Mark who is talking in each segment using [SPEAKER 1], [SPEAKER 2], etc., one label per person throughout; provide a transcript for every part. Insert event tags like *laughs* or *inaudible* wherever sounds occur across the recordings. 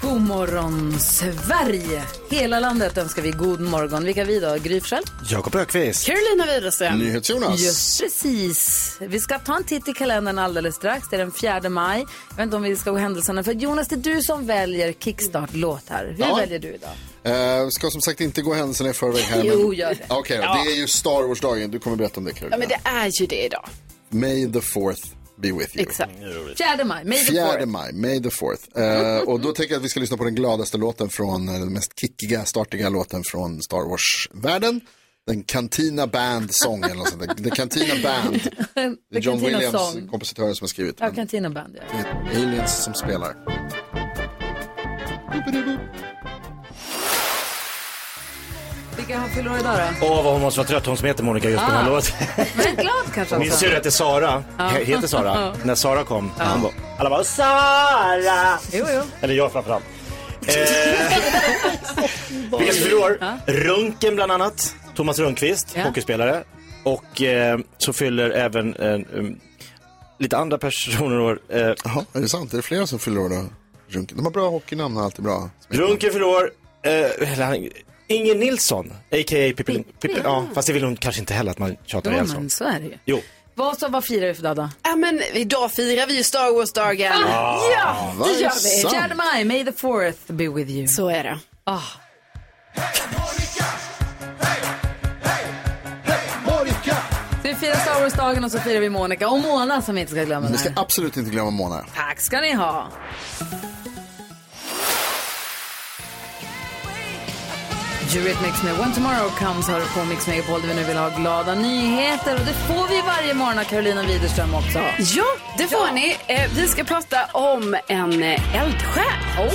[SPEAKER 1] God morgon, Sverige! Hela landet önskar vi god morgon. Vilka är vi då? Gry Forssell?
[SPEAKER 2] Jakob Ökvist.
[SPEAKER 1] Carolina Widerström.
[SPEAKER 2] NyhetsJonas.
[SPEAKER 1] Just precis. Vi ska ta en titt i kalendern alldeles strax. Det är den 4 maj. Jag vet inte om vi ska gå händelserna för Jonas, det är du som väljer kickstart-låt här. Hur
[SPEAKER 2] Ja.
[SPEAKER 1] väljer du idag?
[SPEAKER 2] Eh, ska som sagt inte gå händelserna i förväg här.
[SPEAKER 1] Jo, gör det.
[SPEAKER 2] Okej, då.
[SPEAKER 3] Ja.
[SPEAKER 2] det är ju Star Wars-dagen. Du kommer berätta om det Carolina.
[SPEAKER 3] Ja, men det är ju det idag.
[SPEAKER 2] May the fourth be with you.
[SPEAKER 3] Exakt.
[SPEAKER 1] 4 maj, May the
[SPEAKER 2] Fjärde
[SPEAKER 1] fourth.
[SPEAKER 2] maj, May the fourth. Eh, och då tänker jag att vi ska lyssna på den gladaste låten från, eh, den mest kickiga, startiga låten från Star Wars-världen. Den Cantina Band Song eller något sånt där. The Cantina Band. Det är
[SPEAKER 1] *laughs* The
[SPEAKER 2] John
[SPEAKER 1] Cantina
[SPEAKER 2] Williams,
[SPEAKER 1] Song.
[SPEAKER 2] kompositören som har skrivit.
[SPEAKER 1] Ja,
[SPEAKER 2] Men
[SPEAKER 1] Cantina Band. Ja.
[SPEAKER 2] det är aliens som spelar.
[SPEAKER 1] Vilka har fyller år idag då?
[SPEAKER 4] Åh, vad hon måste vara trött, hon som heter Monica
[SPEAKER 1] Ah.
[SPEAKER 4] just på den här
[SPEAKER 1] *laughs*
[SPEAKER 4] låten.
[SPEAKER 1] Men glad kanske
[SPEAKER 4] Min
[SPEAKER 1] också.
[SPEAKER 4] syrra heter Sara, he- heter Sara. När Sara kom, han bara, alla bara Sara!
[SPEAKER 1] Jo, jo.
[SPEAKER 4] Eller jag framförallt. Eh, vilka som fyller år? Runken bland annat, Thomas Rundqvist,
[SPEAKER 1] Ja.
[SPEAKER 4] hockeyspelare. Och eh, så fyller även eh, um, lite andra personer år. Eh,
[SPEAKER 2] Jaha, är det sant? Är det flera som fyller år då? Runken. De har bra hockeynamn och allt är bra.
[SPEAKER 4] Runken fyller år, eh, eller han- Inger Nilsson, a.k.a. Pippi Pippi- Ja, fast det vill hon kanske inte heller att man tjatar
[SPEAKER 1] Jo,
[SPEAKER 4] ihjäl sig om.
[SPEAKER 1] men så är det ju.
[SPEAKER 4] Jo.
[SPEAKER 1] Vad, så, vad firar vi för dag då?
[SPEAKER 3] Ja, men idag firar vi ju Star Wars-dagen.
[SPEAKER 1] Ja,
[SPEAKER 2] vad
[SPEAKER 1] det gör vi.
[SPEAKER 2] sant.
[SPEAKER 1] 4 maj, May the fourth be with you. Ah.
[SPEAKER 3] Så är det.
[SPEAKER 1] Så vi firar Star Wars-dagen och så firar vi Monica och Mona som vi inte ska glömma.
[SPEAKER 2] Vi ska
[SPEAKER 1] där.
[SPEAKER 2] absolut inte glömma Mona.
[SPEAKER 1] Tack ska ni ha. Eurythmics med When Tomorrow Comes har du på Mix Megapol där vi nu vill ha glada nyheter och det får vi varje morgon av Carolina Widerström också.
[SPEAKER 3] Ja, det får ni. Eh, vi ska prata om en eh, eldsjäl.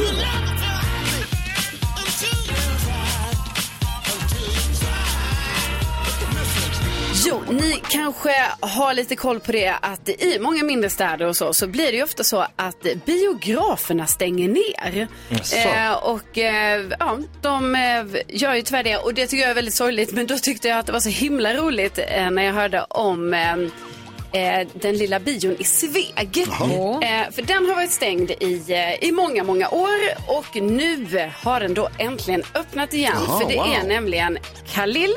[SPEAKER 3] Jo, ni kanske har lite koll på det att i många mindre städer och så, så blir det ju ofta så att biograferna stänger ner. Eh, och eh, ja, de eh, gör ju tyvärr det och det tycker jag är väldigt sorgligt. Men då tyckte jag att det var så himla roligt eh, när jag hörde om eh, eh, den lilla bion i Sveg. Eh, för den har varit stängd i, eh, i många, många år och nu har den då äntligen öppnat igen.
[SPEAKER 2] Jaha,
[SPEAKER 3] för det
[SPEAKER 2] wow.
[SPEAKER 3] är nämligen Khalil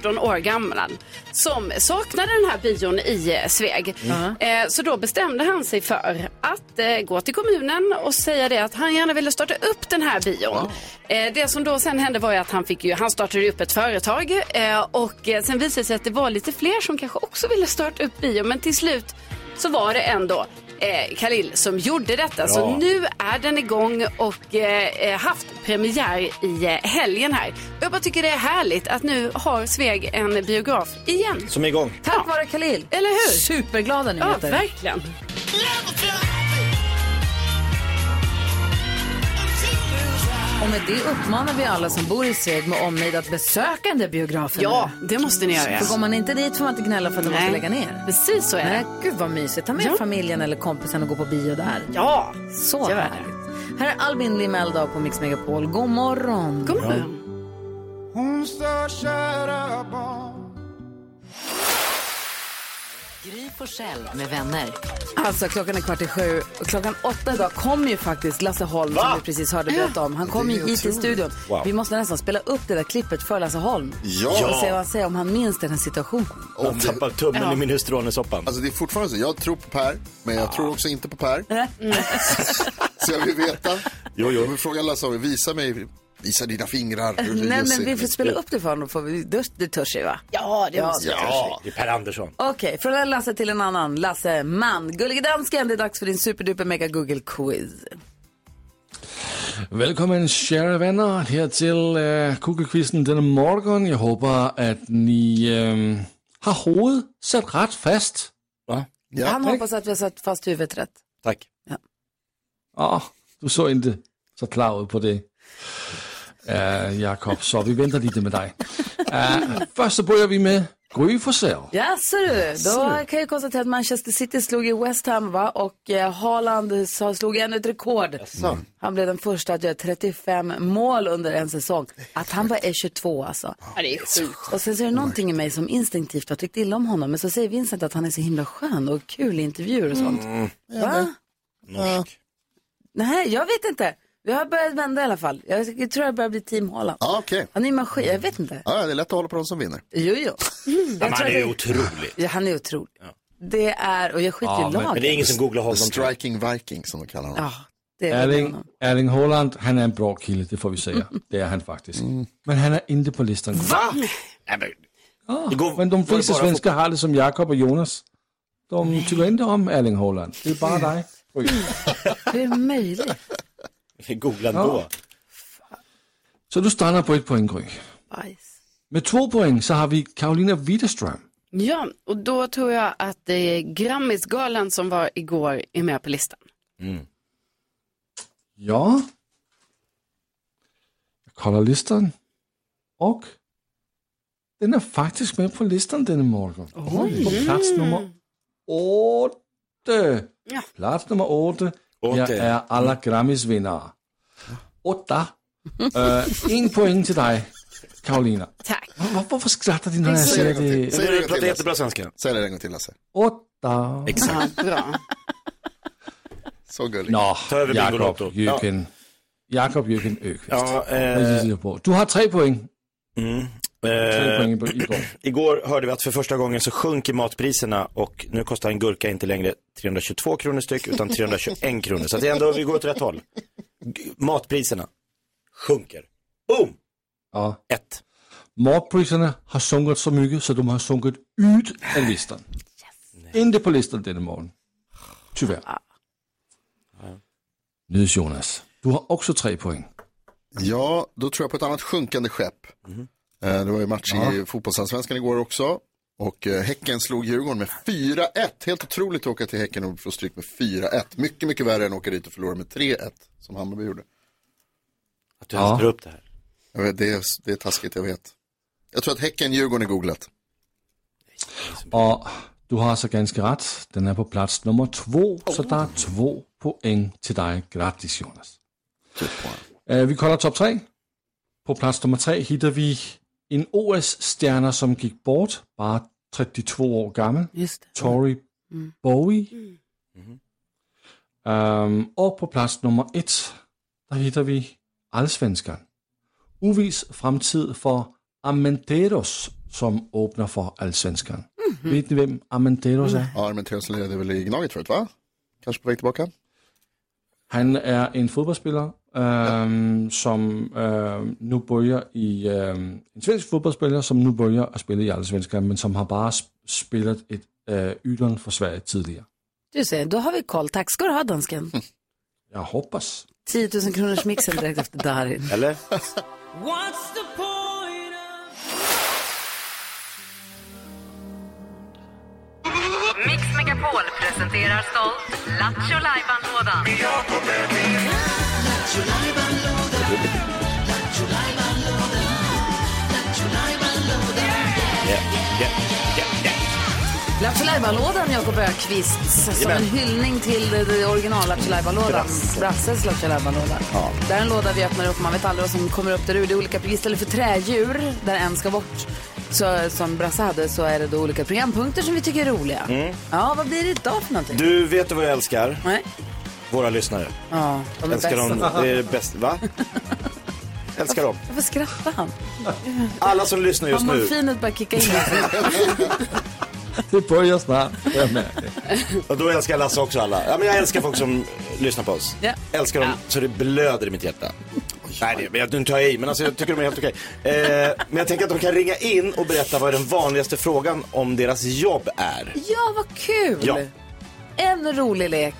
[SPEAKER 3] 18 år gammal som saknade den här bion i eh, Sveg. Eh, så då bestämde han sig för att eh, gå till kommunen och säga det att han gärna ville starta upp den här bion. Eh, det som då sen hände var ju att han, fick ju, han startade upp ett företag eh, och eh, sen visade det sig att det var lite fler som kanske också ville starta upp bio men till slut så var det ändå eh, Khalil som gjorde detta. Så nu är den igång och eh, haft premiär i eh, helgen här. Jag bara tycker det är härligt att nu har Sveg en biograf igen.
[SPEAKER 4] Som är igång.
[SPEAKER 1] Tack vare Khalil.
[SPEAKER 3] Eller hur?
[SPEAKER 1] Superglada
[SPEAKER 3] Ja,
[SPEAKER 1] nyheter.
[SPEAKER 3] verkligen.
[SPEAKER 1] Och med det uppmanar vi alla som bor i Sveg med omnejd att besöka den där biografen.
[SPEAKER 3] Ja, det måste ni göra.
[SPEAKER 1] För går man inte dit får man inte gnälla för att de måste
[SPEAKER 3] Nej.
[SPEAKER 1] lägga ner.
[SPEAKER 3] Precis så är
[SPEAKER 1] Nej,
[SPEAKER 3] det.
[SPEAKER 1] gud vad mysigt. Ta med
[SPEAKER 3] Ja.
[SPEAKER 1] familjen eller kompisen och gå på bio där.
[SPEAKER 3] Ja,
[SPEAKER 1] Så
[SPEAKER 3] gör det.
[SPEAKER 1] härligt. Här är Albin Limeldal på Mix Megapol. God morgon.
[SPEAKER 3] God morgon.
[SPEAKER 5] Gry Forssell med vänner.
[SPEAKER 1] Alltså klockan är kvart i sju och klockan åtta idag kom ju faktiskt Lasse Holm som vi precis hörde berätta om. Han kom ju hit till studion. Vi måste nästan spela upp det där klippet för Lasse Holm.
[SPEAKER 2] Ja.
[SPEAKER 1] Och se vad han säger om han minns den här situationen.
[SPEAKER 4] Jag tappar tummen i min minestrone-soppan.
[SPEAKER 2] Alltså det är fortfarande så, jag tror på Per, men jag tror också inte på
[SPEAKER 1] *laughs*
[SPEAKER 2] Per. så jag vill veta. Jo, jo. Jag vill fråga Lasse Holm, visa mig, visa dina fingrar. hur det
[SPEAKER 1] Eh, Nej
[SPEAKER 2] ser
[SPEAKER 1] men vi
[SPEAKER 2] ut.
[SPEAKER 1] får spela upp det för honom. Får vi, det, det törs vi va?
[SPEAKER 3] Ja, det måste
[SPEAKER 2] Ja,
[SPEAKER 4] Det är Per Andersson.
[SPEAKER 1] Okej, från en Lasse till en annan. Lasse man. Gullige dansken, det är dags för din superduper mega Google quiz.
[SPEAKER 6] Velkommen, kære venner, her til uh, Kukkekvisten denne morgen. Jeg håber, at ni øh, har hovedet sat ret fast.
[SPEAKER 1] Han hoppas att vi har satt fast huvudet rätt.
[SPEAKER 4] Tack.
[SPEAKER 6] Åh, du så inte så klar ud på det. øh, Jakob, så vi venter lite med dig. Uh, først så börjar vi med Gry Forssell.
[SPEAKER 1] Ja, ser du. Då kan jag konstatera att Manchester City slog i West Ham va? och eh, Haaland sa- slog ännu ett rekord. Han blev den första att göra 35 mål under en säsong. Att han bara är 22 alltså.
[SPEAKER 3] Ja, det är sjukt.
[SPEAKER 1] Och sen så är det någonting i mig som instinktivt har tyckt illa om honom. Men så säger Vincent att han är så himla skön och kul i intervjuer och sånt.
[SPEAKER 7] Mm.
[SPEAKER 4] Mm.
[SPEAKER 1] Va?
[SPEAKER 2] Norsk.
[SPEAKER 1] Nej, jag vet inte. Vi har börjat vända i alla fall. Jag tror jag börjar bli team Haaland.
[SPEAKER 2] Ja, okej.
[SPEAKER 1] Han är en maskin, jag vet inte.
[SPEAKER 2] Ja, det är lätt att hålla på de som vinner.
[SPEAKER 1] Jo, jo. Jag
[SPEAKER 4] Mm. Men
[SPEAKER 1] tror
[SPEAKER 4] han
[SPEAKER 1] att
[SPEAKER 4] är ju
[SPEAKER 1] det-
[SPEAKER 4] otrolig.
[SPEAKER 1] Ja, han är otrolig. Det är, och jag skiter i laget.
[SPEAKER 4] Men det är ingen som googlar
[SPEAKER 2] The
[SPEAKER 4] honom. tror jag.
[SPEAKER 2] striking viking som de kallar honom.
[SPEAKER 1] Ja, det är väl
[SPEAKER 6] Erling,
[SPEAKER 1] honom.
[SPEAKER 6] Erling Haaland, han är en bra kille, det får vi säga. Det är han faktiskt. Men han är inte på listan.
[SPEAKER 4] Va? Nej, men, det går,
[SPEAKER 6] Ah, Men de
[SPEAKER 4] går
[SPEAKER 6] flesta
[SPEAKER 4] det bara
[SPEAKER 6] svenskar har det som Jakob och Jonas. De tycker inte om Erling Haaland. Det är bara
[SPEAKER 4] *laughs*
[SPEAKER 6] dig.
[SPEAKER 1] Hur är det möjligt?
[SPEAKER 4] att Googla ändå.
[SPEAKER 6] Så du stannar på ett poäng, Gry.
[SPEAKER 1] Bajs.
[SPEAKER 6] Med två poäng så har vi Karolina Widerström.
[SPEAKER 3] Ja, och då tror jag att det är Grammisgalan som var igår är med på listan.
[SPEAKER 4] Mm.
[SPEAKER 6] Ja. Jag kollar listan. Och den är faktiskt med på listan denna morgon. På plats nummer åtta.
[SPEAKER 3] Ja.
[SPEAKER 6] Plats nummer åtta. Jag
[SPEAKER 4] Åtta.
[SPEAKER 6] är alla Grammisvinnare. Åtta. Eh, en poäng till dig, Karolina.
[SPEAKER 3] Tack.
[SPEAKER 6] Var, varför skrattar du när jag säger det?
[SPEAKER 2] Säg det
[SPEAKER 4] Du pratar
[SPEAKER 2] en gång till, Lasse.
[SPEAKER 4] jättebra svenska.
[SPEAKER 2] Säg det en gång till, Lasse.
[SPEAKER 6] Åtta.
[SPEAKER 3] Ja, bra.
[SPEAKER 2] Så gullig.
[SPEAKER 6] Nå,
[SPEAKER 4] Ta över
[SPEAKER 6] Jakob
[SPEAKER 4] Bingolotto.
[SPEAKER 6] Jürgen. Jakob Jürgen Öqvist.
[SPEAKER 4] Ja,
[SPEAKER 2] Øh.
[SPEAKER 6] Det
[SPEAKER 4] eh,
[SPEAKER 6] sitter jag på. Du har tre poäng.
[SPEAKER 2] Mm.
[SPEAKER 6] Tre
[SPEAKER 4] eh,
[SPEAKER 6] poäng på- igår.
[SPEAKER 4] *clears throat* igår hörde vi att för första gången så sjunker matpriserna och nu kostar en gurka inte längre 322 kronor styck utan 321 kronor. Så att det är ändå, vi går åt rätt håll. G- Matpriserna sjunker. Boom!
[SPEAKER 6] Ja.
[SPEAKER 4] Ett.
[SPEAKER 6] Matpriserna har sjunkit så mycket så de har sjunkit ut av listan. Inte på listan denna morgon. Tyvärr. Nils Jonas, du har också tre poäng.
[SPEAKER 2] Ja, då tror jag på ett annat sjunkande skepp.
[SPEAKER 7] Mhm.
[SPEAKER 2] Eh, Det var ju match i fotbollsallsvenskan igår också. Och eh, Häcken slog Djurgården med 4-1. Helt otroligt att åka till Häcken och få stryk med 4-1. Mycket, mycket värre än att åka dit och förlora med 3-1 som Hammarby gjorde.
[SPEAKER 4] Att du
[SPEAKER 6] Ja.
[SPEAKER 4] hästar upp det här.
[SPEAKER 2] Jag vet, det, är, det är taskigt, jag vet. Jag tror att Häcken-Djurgården är googlat.
[SPEAKER 6] Och du har så ganska rätt. Den är på plats nummer två. Så det är två poäng till dig. Grattis Jonas. Eh, vi kollar topp tre. På plats nummer tre hittar vi en OS-stjärna som gick bort, bara 32 år gammal.
[SPEAKER 1] Just det.
[SPEAKER 6] Tori Bowie. Ehm, och på plats nummer ett, där hittar vi allsvenskan. Oviss framtid för Amenderos som öppnar för allsvenskan.
[SPEAKER 2] Mm.
[SPEAKER 6] Vet ni vem Amenderos är?
[SPEAKER 2] Ja, men Theoz leder väl i Gnaget förut, va? Kanske på väg tillbaka?
[SPEAKER 6] Han är en fodboldspelare ehm, som ehm, nu börjar i... ehm, en svensk fodboldspelare som nu börjar att spela i allsvenskan men som har bara sp- spelat ett uh, ytan för Sverige tidigare.
[SPEAKER 1] Du ser, då har vi koll. Tack ska du ha, dansken.
[SPEAKER 6] Jag hoppas.
[SPEAKER 1] 10 000 kronors mixen direkt efter Darin.
[SPEAKER 4] Eller?
[SPEAKER 1] *laughs*
[SPEAKER 7] Mix Megapol presenterar stolt Lattjo Lajban-lådan.
[SPEAKER 1] Lattjo Lajban-lådan, Jakob Öqvist. Som en hyllning till det, det original Lattjo Lajban-lådan. Brasses Lattjo Lajban-låda. Det är en låda vi öppnar upp. Man vet aldrig vad som kommer upp där ur. Det är olika, istället för trädjur, där en ska bort, så, som Brasse hade, så är det då olika programpunkter som vi tycker är roliga. Ja, vad blir det idag för någonting?
[SPEAKER 4] Mm. Du vet vad jag älskar?
[SPEAKER 1] Nej.
[SPEAKER 4] Våra lyssnare.
[SPEAKER 1] Ja, de är
[SPEAKER 4] Älskar
[SPEAKER 1] bäst.
[SPEAKER 4] dem. Det
[SPEAKER 1] *laughs*
[SPEAKER 4] är bäst. Va? Älskar dem.
[SPEAKER 1] Varför skrattar han?
[SPEAKER 4] Alla som lyssnar
[SPEAKER 1] Har
[SPEAKER 4] just nu.
[SPEAKER 1] morfinet börjat kicka in?
[SPEAKER 4] *laughs*
[SPEAKER 6] Det börjar snart. Jag märker det.
[SPEAKER 4] Och då älskar jag Lasse också alla. Ja, men jag älskar folk som lyssnar på oss.
[SPEAKER 1] Ja.
[SPEAKER 4] Älskar dem så det blöder i mitt hjärta. Nej, det, men jag, nu tar jag i, men alltså, jag tycker de är helt okej. Eh, men jag tänker att de kan ringa in och berätta vad den vanligaste frågan om deras jobb är.
[SPEAKER 1] Ja, vad kul!
[SPEAKER 4] Ja.
[SPEAKER 1] En rolig lek.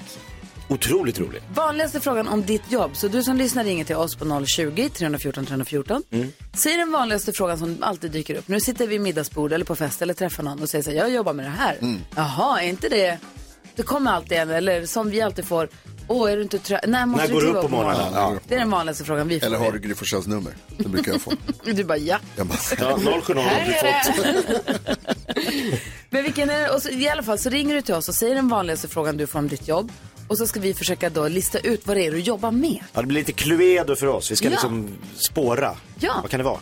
[SPEAKER 4] Otroligt roligt.
[SPEAKER 1] Vanligaste frågan om ditt jobb. Så du som lyssnar ringer till oss på 020-314 314.
[SPEAKER 7] Mm.
[SPEAKER 1] Säg den vanligaste frågan som alltid dyker upp. Nu sitter vi vid middagsbord eller på fest eller träffar någon och säger Mm. så här, jag jobbar med det här. Jaha, är inte det... Det kommer alltid en, eller som vi alltid får. Åh, är du inte trött? När måste
[SPEAKER 4] När går
[SPEAKER 1] du
[SPEAKER 4] du
[SPEAKER 1] kliva
[SPEAKER 4] upp på morgonen? Ja.
[SPEAKER 1] Det är den vanligaste frågan vi får.
[SPEAKER 2] Eller har du Gry Forssells nummer? Det brukar jag få.
[SPEAKER 1] *laughs* Du bara ja.
[SPEAKER 2] Jag bara,
[SPEAKER 4] Ja, 070 har du fått.
[SPEAKER 1] Men vilken är och så, I alla fall så ringer du till oss och säger den vanligaste frågan du får om ditt jobb. Och så ska vi försöka då lista ut vad det är du jobbar med.
[SPEAKER 4] Ja, det blir lite Cluedo för oss. Vi ska
[SPEAKER 1] Ja.
[SPEAKER 4] liksom spåra.
[SPEAKER 1] Ja.
[SPEAKER 4] Vad kan det vara?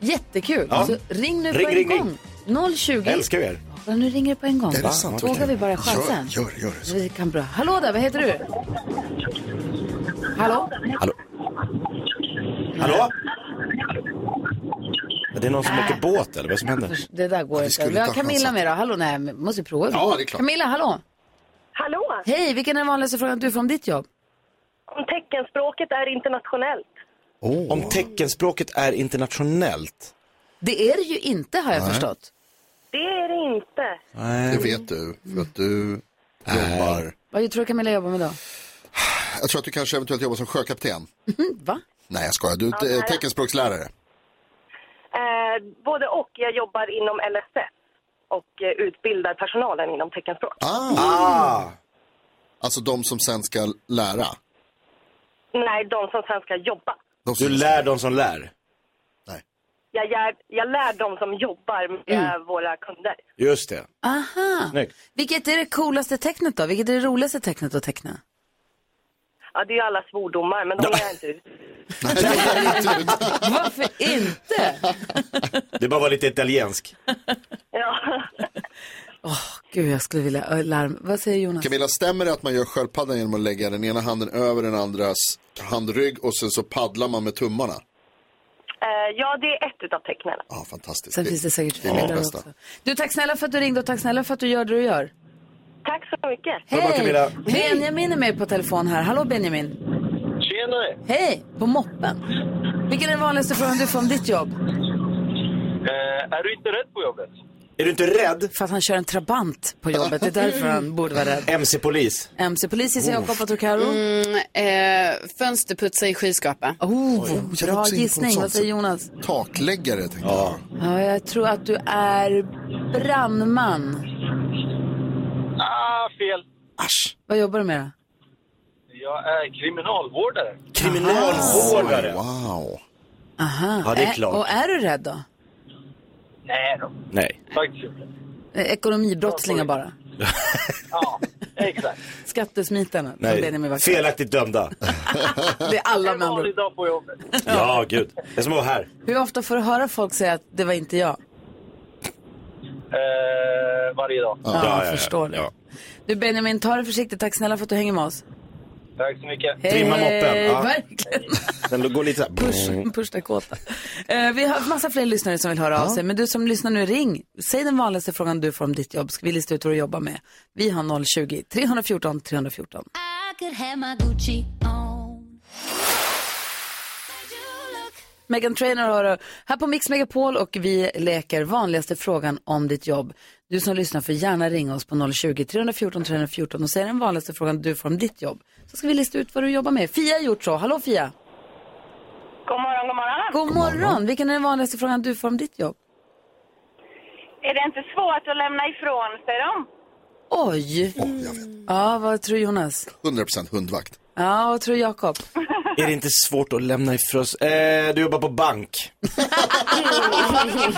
[SPEAKER 1] Jättekul.
[SPEAKER 4] Ja.
[SPEAKER 1] Så ring nu
[SPEAKER 4] Ring,
[SPEAKER 1] på en
[SPEAKER 4] ring,
[SPEAKER 1] gång. 020.
[SPEAKER 4] Jag älskar er.
[SPEAKER 1] Ja, nu ringer det på en gång.
[SPEAKER 2] är det sant?
[SPEAKER 1] Vågar vi bara chansen?
[SPEAKER 2] Gör, gör, gör det.
[SPEAKER 1] Så vi kan bra. Hallå där, vad heter du? Hallå?
[SPEAKER 4] Hallå? Hallå? Är det någon som åker båt eller vad som händer?
[SPEAKER 1] Det där går inte.
[SPEAKER 2] skulle
[SPEAKER 1] Vi har
[SPEAKER 2] ta
[SPEAKER 1] Camilla
[SPEAKER 2] chansen.
[SPEAKER 1] med då. Hallå, nej, men måste vi prova?
[SPEAKER 2] Ja, det är klart.
[SPEAKER 1] Camilla, hallå.
[SPEAKER 8] Hallå!
[SPEAKER 1] Hej, vilken är den vanligaste frågan du får om ditt jobb?
[SPEAKER 8] Om teckenspråket är internationellt.
[SPEAKER 4] Om teckenspråket är internationellt?
[SPEAKER 1] Det är det ju inte har jag förstått.
[SPEAKER 8] Det är det inte.
[SPEAKER 2] Det vet du, för att du jobbar.
[SPEAKER 1] Vad tror du Camilla jobbar med då?
[SPEAKER 2] Jag tror att du kanske eventuellt jobbar som sjökapten.
[SPEAKER 1] *laughs* Va?
[SPEAKER 2] Nej, jag skojar. Du är teckenspråkslärare.
[SPEAKER 8] Eh, både och. Jag jobbar inom LSS och eh, utbildar personalen inom teckenspråk.
[SPEAKER 2] Ah. Alltså de som sen ska lära.
[SPEAKER 8] Nej, de som sen ska jobba.
[SPEAKER 2] De som
[SPEAKER 4] Du lär de som lär.
[SPEAKER 8] Jag, lär- jag lär de som jobbar med våra kunder.
[SPEAKER 4] Just det.
[SPEAKER 1] Aha.
[SPEAKER 4] Snyggt.
[SPEAKER 1] Vilket är det coolaste tecknet då? Vilket är det roligaste tecknet att teckna?
[SPEAKER 8] Ja, det är ju alla svordomar, men de lär jag inte ut.
[SPEAKER 1] Varför inte?
[SPEAKER 4] Det bara var lite italiensk.
[SPEAKER 8] Ja.
[SPEAKER 1] Gud, jag skulle vilja ö, larm. Vad säger Jonas?
[SPEAKER 8] Eh,
[SPEAKER 2] Camilla, stämmer det att man gör sköldpaddan genom att lägga den ena handen över den andras handrygg och sen så paddlar man med tummarna?
[SPEAKER 8] Eh, ja, det är ett utav tecknen.
[SPEAKER 2] Ja, ah, fantastiskt.
[SPEAKER 1] Sen finns det säkert
[SPEAKER 2] det är mitt
[SPEAKER 1] fler
[SPEAKER 2] bästa.
[SPEAKER 1] också. Du, tack snälla för att du ringde och tack snälla för att du gör det du gör.
[SPEAKER 8] Tack så mycket.
[SPEAKER 4] Hej. Camilla.
[SPEAKER 1] Benjamin är med på telefon här. Hallå Benjamin.
[SPEAKER 9] Tjenare!
[SPEAKER 1] Hej, på moppen. Vilken är den vanligaste frågan du får om ditt jobb?
[SPEAKER 9] Eh, är du inte rädd på jobbet?
[SPEAKER 4] Är du inte rädd?
[SPEAKER 1] För att han kör en trabant på jobbet. Det är därför han borde vara rädd.
[SPEAKER 4] MC-polis.
[SPEAKER 1] MC-polis gissar
[SPEAKER 4] Oh.
[SPEAKER 1] jag, Jakob och Trocaro.
[SPEAKER 3] Eh, fönsterputsa i skyskrapa.
[SPEAKER 1] Oh,
[SPEAKER 2] Jag är
[SPEAKER 1] bra
[SPEAKER 2] också in på
[SPEAKER 1] gissning.
[SPEAKER 2] sånt.
[SPEAKER 1] Vad
[SPEAKER 3] *laughs*
[SPEAKER 1] säger Jonas?
[SPEAKER 2] Takläggare, tänkte jag.
[SPEAKER 1] Ja, jag tror att du är brandman.
[SPEAKER 9] Ah, fel.
[SPEAKER 1] Vad jobbar du med då?
[SPEAKER 9] Jag är kriminalvårdare.
[SPEAKER 4] Kriminalvårdare.
[SPEAKER 2] Wow.
[SPEAKER 1] Aha.
[SPEAKER 4] Ja, det är
[SPEAKER 1] Ä-
[SPEAKER 4] klart.
[SPEAKER 1] Och är du rädd då?
[SPEAKER 9] Nej då,
[SPEAKER 4] Nej.
[SPEAKER 9] faktiskt inte.
[SPEAKER 1] Eh, Ekonomibrottslingar bara?
[SPEAKER 9] Ja, exakt.
[SPEAKER 1] *laughs* Skattesmitarna? som Benjamin var-
[SPEAKER 4] Nej. Felaktigt
[SPEAKER 1] *laughs*
[SPEAKER 4] dömda.
[SPEAKER 1] Det är alla
[SPEAKER 9] En
[SPEAKER 1] med andra.
[SPEAKER 9] vanlig dag på jobbet.
[SPEAKER 4] Ja, gud. Det är som att vara här.
[SPEAKER 1] Hur ofta får du höra folk säga att det var inte jag?
[SPEAKER 9] Eh, varje dag.
[SPEAKER 1] Ja,
[SPEAKER 4] ja,
[SPEAKER 1] jag
[SPEAKER 4] ja,
[SPEAKER 1] förstår
[SPEAKER 4] ja.
[SPEAKER 1] det. Du Benjamin, ta det försiktigt. Tack snälla för att du hänger med oss.
[SPEAKER 9] Tack så mycket.
[SPEAKER 4] Trimma moppen. Ja.
[SPEAKER 1] Verkligen.
[SPEAKER 4] Den går lite så här.
[SPEAKER 1] Push, push där kåta. Eh, vi har massa fler lyssnare som vill höra av sig. Men du som lyssnar nu, ring. Säg den vanligaste frågan du får om ditt jobb. Ska vi lista ut vad du jobbar med? Vi har 020-314 314. Megan Trainor har du här på Mix Megapol och vi leker vanligaste frågan om ditt jobb. Du som lyssnar får gärna ringa oss på 020-314 314 och säga den vanligaste frågan du får om ditt jobb. Så ska vi lista ut vad du jobbar med. Fia har gjort så. Hallå Fia!
[SPEAKER 8] God morgon, god morgon.
[SPEAKER 1] God morgon! Vilken är den vanligaste frågan du får om ditt jobb?
[SPEAKER 8] Är det inte svårt att lämna ifrån sig dem?
[SPEAKER 1] Oj!
[SPEAKER 2] Jag vet.
[SPEAKER 1] Ja, vad tror Jonas?
[SPEAKER 2] 100% hundvakt.
[SPEAKER 1] Ja, vad tror
[SPEAKER 8] *laughs*
[SPEAKER 1] Jakob?
[SPEAKER 4] Är det inte svårt att lämna ifrån sig? Eh, du jobbar på bank.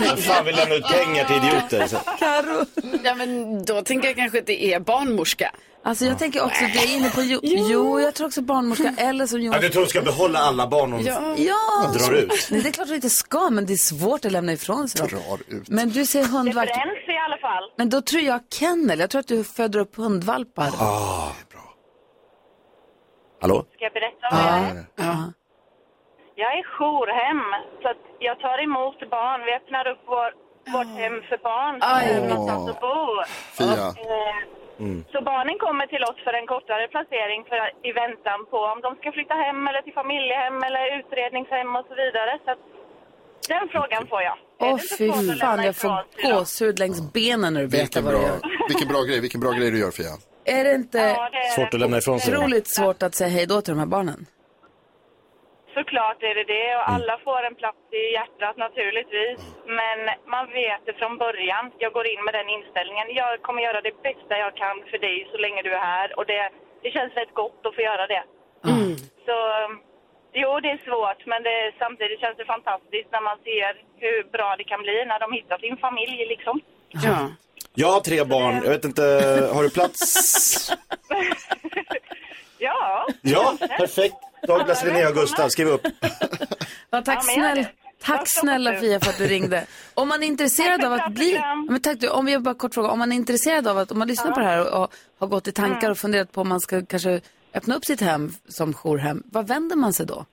[SPEAKER 4] Vem fan vill lämna ut pengar till idioter? Så.
[SPEAKER 1] Karo.
[SPEAKER 3] Ja, men då tänker jag kanske att det är barnmorska.
[SPEAKER 1] Alltså jag tänker också, det är inne på *laughs* jo, jo, jag tror också barnmorska eller som
[SPEAKER 4] Ja,
[SPEAKER 1] Jonas.
[SPEAKER 4] du tror hon ska behålla alla barn hon
[SPEAKER 3] Ja.
[SPEAKER 1] Ja!
[SPEAKER 4] drar ut?
[SPEAKER 1] Nej, det är klart du inte ska, men det är svårt att lämna ifrån sig. dem.
[SPEAKER 2] Drar ut.
[SPEAKER 1] Men du säger hundvakt.
[SPEAKER 8] Bränns i alla fall.
[SPEAKER 1] Men då tror jag kennel. Jag tror att du föder upp hundvalpar.
[SPEAKER 4] Ah. Hallå?
[SPEAKER 8] Ska jag berätta vad jag är? Jag är jourhem, så att jag tar emot barn. Vi öppnar upp vår, vårt hem för barn som behöver någonstans att bo.
[SPEAKER 2] Fia.
[SPEAKER 8] Eh, Så barnen kommer till oss för en kortare placering för, i väntan på om de ska flytta hem eller till familjehem eller utredningshem och så vidare. Så att, den frågan får jag. Är det
[SPEAKER 1] Åh
[SPEAKER 8] inte
[SPEAKER 1] fy
[SPEAKER 8] svårt att
[SPEAKER 1] fan,
[SPEAKER 8] lämna
[SPEAKER 1] jag får
[SPEAKER 8] ifrån sig dem?
[SPEAKER 1] gåshud längs benen när du berättar
[SPEAKER 2] Vilken
[SPEAKER 1] vad du
[SPEAKER 2] bra,
[SPEAKER 1] gör.
[SPEAKER 2] vilken bra grej, vilken bra grej du gör Fia.
[SPEAKER 1] Är det inte
[SPEAKER 8] Ja, det är
[SPEAKER 4] Svårt att lämna ifrån sig.
[SPEAKER 1] otroligt svårt att säga hej då till de här barnen?
[SPEAKER 8] Såklart är det det och alla får en plats i hjärtat naturligtvis. Men man vet det från början. Jag går in med den inställningen. Jag kommer göra det bästa jag kan för dig så länge du är här och det det känns rätt gott att få göra det. Så eh, jo, det är svårt, men det, samtidigt känns det fantastiskt när man ser hur bra det kan bli när de hittar sin familj liksom. *laughs*
[SPEAKER 3] Ja.
[SPEAKER 4] Jag har tre barn, jag vet inte, har du
[SPEAKER 1] *laughs*
[SPEAKER 4] plats?
[SPEAKER 8] Ja,
[SPEAKER 4] Ja, perfekt. Douglas, Linnea och Gustav, skriv upp.
[SPEAKER 1] Ja, tack snäll, tack snälla Fia för att du ringde. Om man är intresserad av att bli... Ja, Men tack du, om jag bara kort fråga, om man är intresserad av att, om man lyssnar på det här och, och har gått i
[SPEAKER 8] Mm.
[SPEAKER 1] tankar och funderat på om man ska kanske öppna upp sitt hem som jourhem, vad vänder man sig då?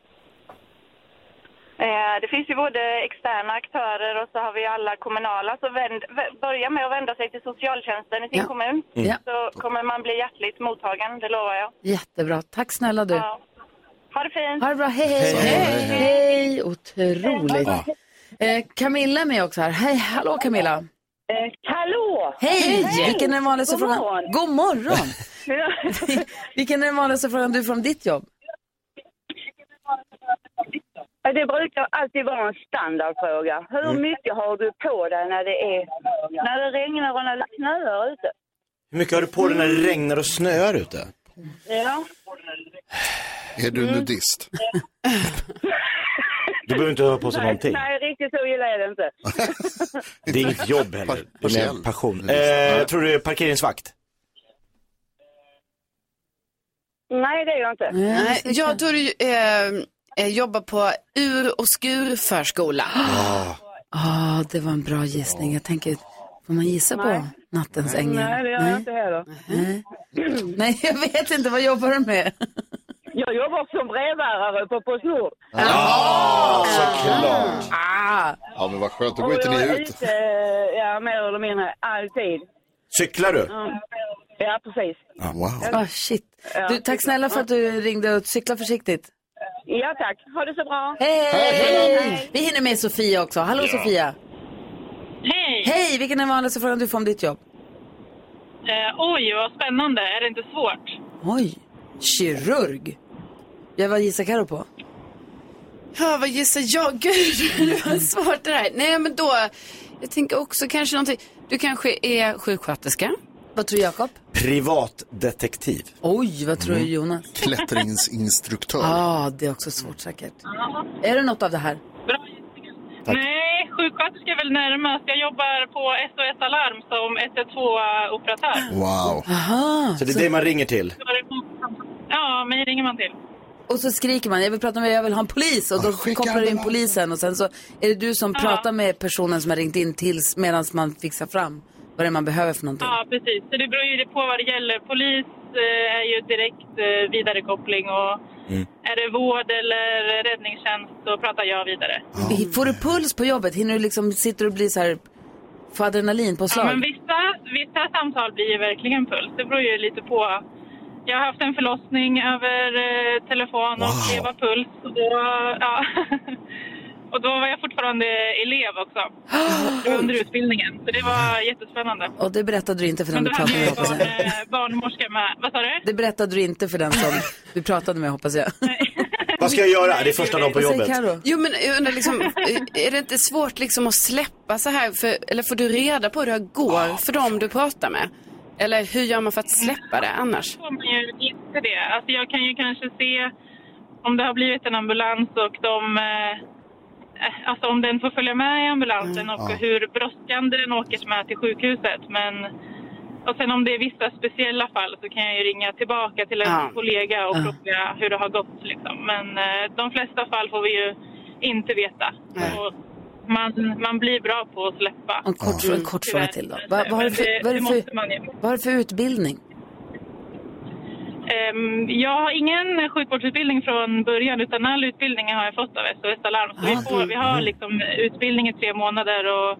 [SPEAKER 8] Eh, Det finns ju både externa aktörer och så har vi alla kommunala. Så vänd, vä- börja med att vända sig till socialtjänsten i sin kommun.
[SPEAKER 1] Mm. Ja.
[SPEAKER 8] Så kommer man bli hjärtligt mottagen, det lovar jag.
[SPEAKER 1] Jättebra, tack snälla du.
[SPEAKER 8] Ja. Ha det fint!
[SPEAKER 1] Ha det bra, hej hej! Hej, hej. otroligt.
[SPEAKER 8] Ja.
[SPEAKER 1] Eh, Camilla är med också här. Hej, hallå Camilla.
[SPEAKER 10] Eh, hallå!
[SPEAKER 1] Hej! Vilken är den vanligaste
[SPEAKER 10] God
[SPEAKER 1] frågan?
[SPEAKER 10] morgon.
[SPEAKER 1] God morgon! *laughs* Vilken är den vanligaste frågan du får om ditt jobb?
[SPEAKER 10] Eh, Det brukar alltid vara en standardfråga. Hur
[SPEAKER 4] Mm.
[SPEAKER 10] mycket har du på dig när det, är, när det regnar och när det snöar ute?
[SPEAKER 4] Hur mycket har du på dig när det regnar och snöar ute?
[SPEAKER 10] Ja.
[SPEAKER 2] Är
[SPEAKER 1] Mm.
[SPEAKER 2] du
[SPEAKER 1] *laughs*
[SPEAKER 2] nudist?
[SPEAKER 4] Du behöver inte ha på sig någonting.
[SPEAKER 10] Nej, riktigt så gillar jag det inte.
[SPEAKER 4] Det är inget jobb heller. Det är mer passion. Eh,
[SPEAKER 2] Ja.
[SPEAKER 4] tror du är parkeringsvakt?
[SPEAKER 10] *laughs* Nej, det är jag inte.
[SPEAKER 3] Nej, jag tror du eh, eh, jobbar på ur och
[SPEAKER 1] *gasps*
[SPEAKER 3] skurförskola.
[SPEAKER 1] Ah, det var en bra gissning. Jag tänker, får man gissa
[SPEAKER 3] Nej.
[SPEAKER 1] på nattens ängel?
[SPEAKER 10] Nej, det gör jag inte heller.
[SPEAKER 1] Nej. Nej, jag vet inte. Vad jobbar du med?
[SPEAKER 10] Jag jobbar som brevbärare på Postnord.
[SPEAKER 2] Ja, såklart.
[SPEAKER 1] Ah.
[SPEAKER 2] Ja, men vad skönt. Då
[SPEAKER 10] Och
[SPEAKER 2] går inte
[SPEAKER 10] jag
[SPEAKER 2] ni
[SPEAKER 10] är
[SPEAKER 2] ut.
[SPEAKER 10] ute, ja, mer eller mindre alltid.
[SPEAKER 4] Cyklar du?
[SPEAKER 10] Ja, Ja, precis.
[SPEAKER 2] Wow.
[SPEAKER 1] Ah, shit. Du, tack snälla för att du ringde och cykla försiktigt.
[SPEAKER 10] Ja, tack. Ha det så bra.
[SPEAKER 1] Hej! Vi hinner med Sofia också. Hallå
[SPEAKER 10] Ja.
[SPEAKER 1] Sofia!
[SPEAKER 11] Hej!
[SPEAKER 1] Hej! Vilken är den vanligaste frågan du får om ditt jobb?
[SPEAKER 11] Eh, oj, vad spännande. Är det inte svårt?
[SPEAKER 1] Oj, kirurg. Jag var gissar Karo på?
[SPEAKER 3] Ja, vad gissar jag? *laughs* Gud, det
[SPEAKER 1] Mm.
[SPEAKER 3] var svårt det där. Nej, men då, jag tänker också kanske någonting. Du kanske är sjuksköterska?
[SPEAKER 1] Vad tror Jakob?
[SPEAKER 4] Privatdetektiv.
[SPEAKER 1] Oj, vad tror du Jonas?
[SPEAKER 2] Klättringsinstruktör.
[SPEAKER 1] *laughs* Ja, ah, det är också svårt säkert. Är det något av det här?
[SPEAKER 11] Nej, sjuksköterska är väl närmast. Jag jobbar på SOS Alarm som 112-operatör.
[SPEAKER 4] Wow.
[SPEAKER 1] Aha,
[SPEAKER 4] Så det är det man ringer till?
[SPEAKER 11] Ja, mig ringer man till.
[SPEAKER 1] Och så skriker man, jag vill prata med, jag vill ha en polis. Och då kopplar du in
[SPEAKER 11] ambulans.
[SPEAKER 1] polisen och sen så är det du som pratar med personen som har ringt in tills medan man fixar fram vad det är man behöver för någonting.
[SPEAKER 11] Ja, precis. Så det beror ju på vad det gäller. Polis eh, är ju direkt eh, vidarekoppling och är det vård eller räddningstjänst så pratar jag vidare.
[SPEAKER 1] Får du puls på jobbet? Hinner du liksom, sitter du och blir så här, får
[SPEAKER 11] Ja,
[SPEAKER 1] adrenalinpåslag?
[SPEAKER 11] men vissa, vissa samtal blir ju verkligen puls. Det beror ju lite på. Jag har haft en förlossning över eh, telefon och
[SPEAKER 12] Wow.
[SPEAKER 11] det var puls. Och då, ja. *laughs* och då var jag fortfarande elev också. Det var under utbildningen. Så det var jättespännande.
[SPEAKER 1] Och det berättade du inte för den
[SPEAKER 11] Men
[SPEAKER 1] du
[SPEAKER 11] då hade
[SPEAKER 1] pratade med
[SPEAKER 11] jag
[SPEAKER 1] hoppas
[SPEAKER 11] barn,
[SPEAKER 1] jag.
[SPEAKER 11] eh, barnmorska med. Vad sa du?
[SPEAKER 1] Det berättade du inte för den som du pratade med hoppas jag.
[SPEAKER 4] Vad ska jag göra? Det är första dagen på
[SPEAKER 1] Vad säger
[SPEAKER 4] jobbet.
[SPEAKER 1] Karo?
[SPEAKER 3] Jo, men jag undrar liksom, eh, är det inte svårt liksom att släppa så här? För, eller får du reda på hur det går för dem du pratar med? Eller hur gör man för att släppa det annars?
[SPEAKER 11] får man ju inte det. Alltså jag kan ju kanske se om det har blivit en ambulans och de, eh, eh, alltså om den får följa med i ambulansen och
[SPEAKER 12] Ja.
[SPEAKER 11] hur brådskande den åker med till sjukhuset. Men, och sen om det är vissa speciella fall så kan jag ju ringa tillbaka till en
[SPEAKER 12] Ja.
[SPEAKER 11] kollega och
[SPEAKER 12] Ja.
[SPEAKER 11] fråga hur det har gått. Liksom. Men eh, de flesta fall får vi ju inte veta. Och man, man blir bra på att släppa.
[SPEAKER 1] En kort, en kort fråga
[SPEAKER 11] Tyvärr.
[SPEAKER 1] till då. Vad, vad, har, du för,
[SPEAKER 11] Men
[SPEAKER 1] vad, har, du
[SPEAKER 11] det måste man ju.
[SPEAKER 1] för, vad har du för utbildning?
[SPEAKER 11] Ehm, Jag har ingen sjukvårdsutbildning från början utan all utbildning har jag fått av SOS Alarm. Så vi, får, vi
[SPEAKER 1] mm.
[SPEAKER 11] har liksom utbildning i tre månader och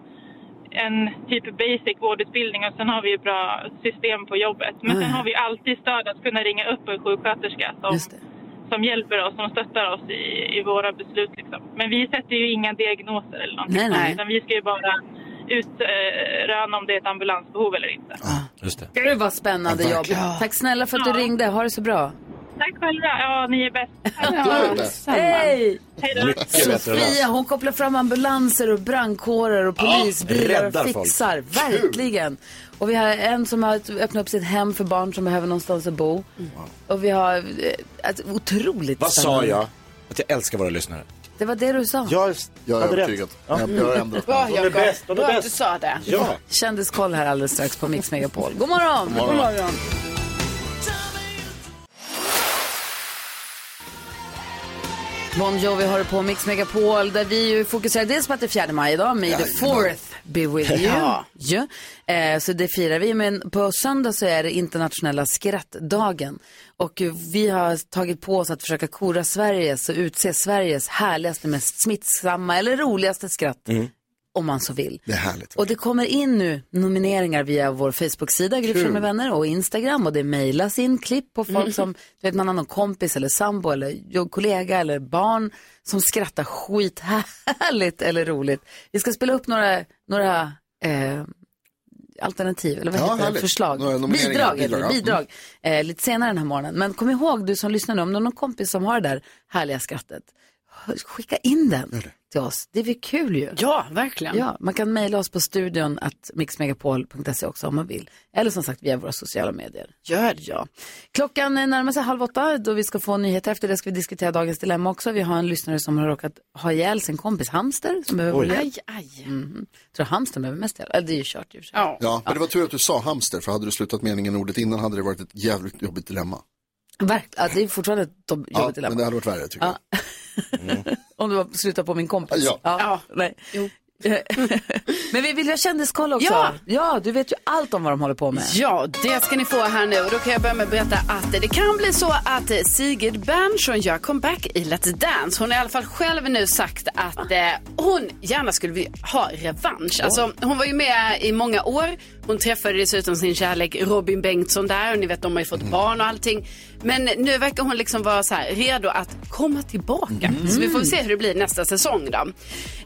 [SPEAKER 11] en typ basic vårdutbildning och sen har vi ju bra system på jobbet. Men
[SPEAKER 1] Ah,
[SPEAKER 11] sen har vi ju alltid stöd att kunna ringa upp en sjuksköterska som, som hjälper oss, som stöttar oss i, i våra beslut. Liksom. Men vi sätter ju inga diagnoser eller någonting.
[SPEAKER 1] Nej, nej.
[SPEAKER 11] Utan vi ska ju bara utröna om det är ett ambulansbehov eller inte.
[SPEAKER 1] Gud vad spännande
[SPEAKER 11] Ja,
[SPEAKER 1] jobb.
[SPEAKER 11] verkligen.
[SPEAKER 1] Tack snälla för att du ringde. Ha det så bra.
[SPEAKER 11] Tack själva. Ja, ni är bäst.
[SPEAKER 1] Hej!
[SPEAKER 4] Mycket bättre än
[SPEAKER 1] Sofia,
[SPEAKER 4] oss.
[SPEAKER 1] hon kopplar fram ambulanser och brandkårer och
[SPEAKER 4] Ja,
[SPEAKER 1] polisbilar
[SPEAKER 4] räddar
[SPEAKER 1] och
[SPEAKER 4] folk.
[SPEAKER 1] fixar.
[SPEAKER 4] Kul.
[SPEAKER 1] Verkligen. Och vi har en som har öppnat upp sitt hem för barn som behöver någonstans att bo.
[SPEAKER 4] Mm.
[SPEAKER 1] Och vi har eh, ett otroligt
[SPEAKER 4] Vad sa
[SPEAKER 1] spännande-
[SPEAKER 4] jag? Att jag älskar våra lyssnare.
[SPEAKER 1] Det var det du sa.
[SPEAKER 4] Jag,
[SPEAKER 2] jag
[SPEAKER 4] hade
[SPEAKER 2] övertygad.
[SPEAKER 4] rätt.
[SPEAKER 2] Jag- jag har ändrat
[SPEAKER 3] Bra,
[SPEAKER 1] De är
[SPEAKER 3] Jakob.
[SPEAKER 1] bäst, de är
[SPEAKER 3] Bra att
[SPEAKER 1] bäst.
[SPEAKER 3] du sa det.
[SPEAKER 4] Ja.
[SPEAKER 1] Kändiskoll här alldeles strax på Mix Megapol. God morgon!
[SPEAKER 3] God morgon.
[SPEAKER 1] Bon Jovi har det på Mix Megapol där vi ju fokuserar dels på att det är 4 maj idag, May the fourth be with you.
[SPEAKER 3] Ja.
[SPEAKER 1] Ja. Eh, så det firar vi, men på söndag så är det internationella skrattdagen. Och eh, vi har tagit på oss att försöka kora Sveriges och utse Sveriges härligaste, mest smittsamma eller roligaste skratt.
[SPEAKER 4] Mm.
[SPEAKER 1] Om man så vill.
[SPEAKER 2] Det är härligt.
[SPEAKER 1] Och det kommer in nu nomineringar via vår Facebook-sida, Gry Forssell med vänner, och Instagram. Och det mejlas in klipp på folk som, du vet man har någon kompis eller sambo eller jo- kollega eller barn som skrattar skithärligt eller roligt. Vi ska spela upp några, några eh, alternativ, eller vad
[SPEAKER 2] Ja,
[SPEAKER 1] heter det,
[SPEAKER 2] härligt.
[SPEAKER 1] förslag.
[SPEAKER 2] Några nomineringar,
[SPEAKER 1] Bidrag,
[SPEAKER 2] bidrag,
[SPEAKER 1] bidrag,
[SPEAKER 2] ja.
[SPEAKER 1] bidrag eh, lite senare den här morgonen. Men kom ihåg du som lyssnar nu, om du har någon kompis som har det där härliga skrattet, skicka in den till oss. Det blir kul ju.
[SPEAKER 3] Ja, verkligen.
[SPEAKER 1] Ja, man kan mejla oss på studion att mixmegapol.se också om man vill. Eller som sagt via våra sociala medier. Gör ja. Klockan är närmar sig halv åtta då vi ska få nyheter. Efter det ska vi diskutera dagens dilemma också. Vi har en lyssnare som har råkat ha ihjäl sin kompis hamster som behöver
[SPEAKER 2] Oj.
[SPEAKER 1] hjälp. Mhm. Tror hamstern behöver mest hjälp? Eller det är ju kört i och för sig.
[SPEAKER 2] Ja, men det var tur att du sa hamster, för hade du slutat meningen ordet innan hade det varit ett jävligt jobbigt dilemma.
[SPEAKER 1] Verkligen, ja, det är fortfarande ett jobb- jobbigt
[SPEAKER 2] Ja,
[SPEAKER 1] dilemma.
[SPEAKER 2] men det hade varit värre tycker jag. Mm.
[SPEAKER 1] *laughs* Om du var- slutar på min kompis.
[SPEAKER 2] Ja.
[SPEAKER 1] Nej. Eh, Men vi vill ha kändiskoll också.
[SPEAKER 3] Ja.
[SPEAKER 1] ja, du vet ju allt om vad de håller på med.
[SPEAKER 3] Ja, det ska ni få här nu. Och Då kan jag börja med att berätta att det kan bli så att Sigrid Bernson gör comeback i Let's Dance. Hon har i alla fall själv nu sagt att eh, hon gärna skulle vilja ha revansch. Alltså, hon var ju med i många år. Hon träffade dessutom sin kärlek Robin Bengtsson där och ni vet de har ju fått barn och allting. Men nu verkar hon liksom vara så här redo att komma tillbaka. Så vi får se hur det blir nästa säsong då.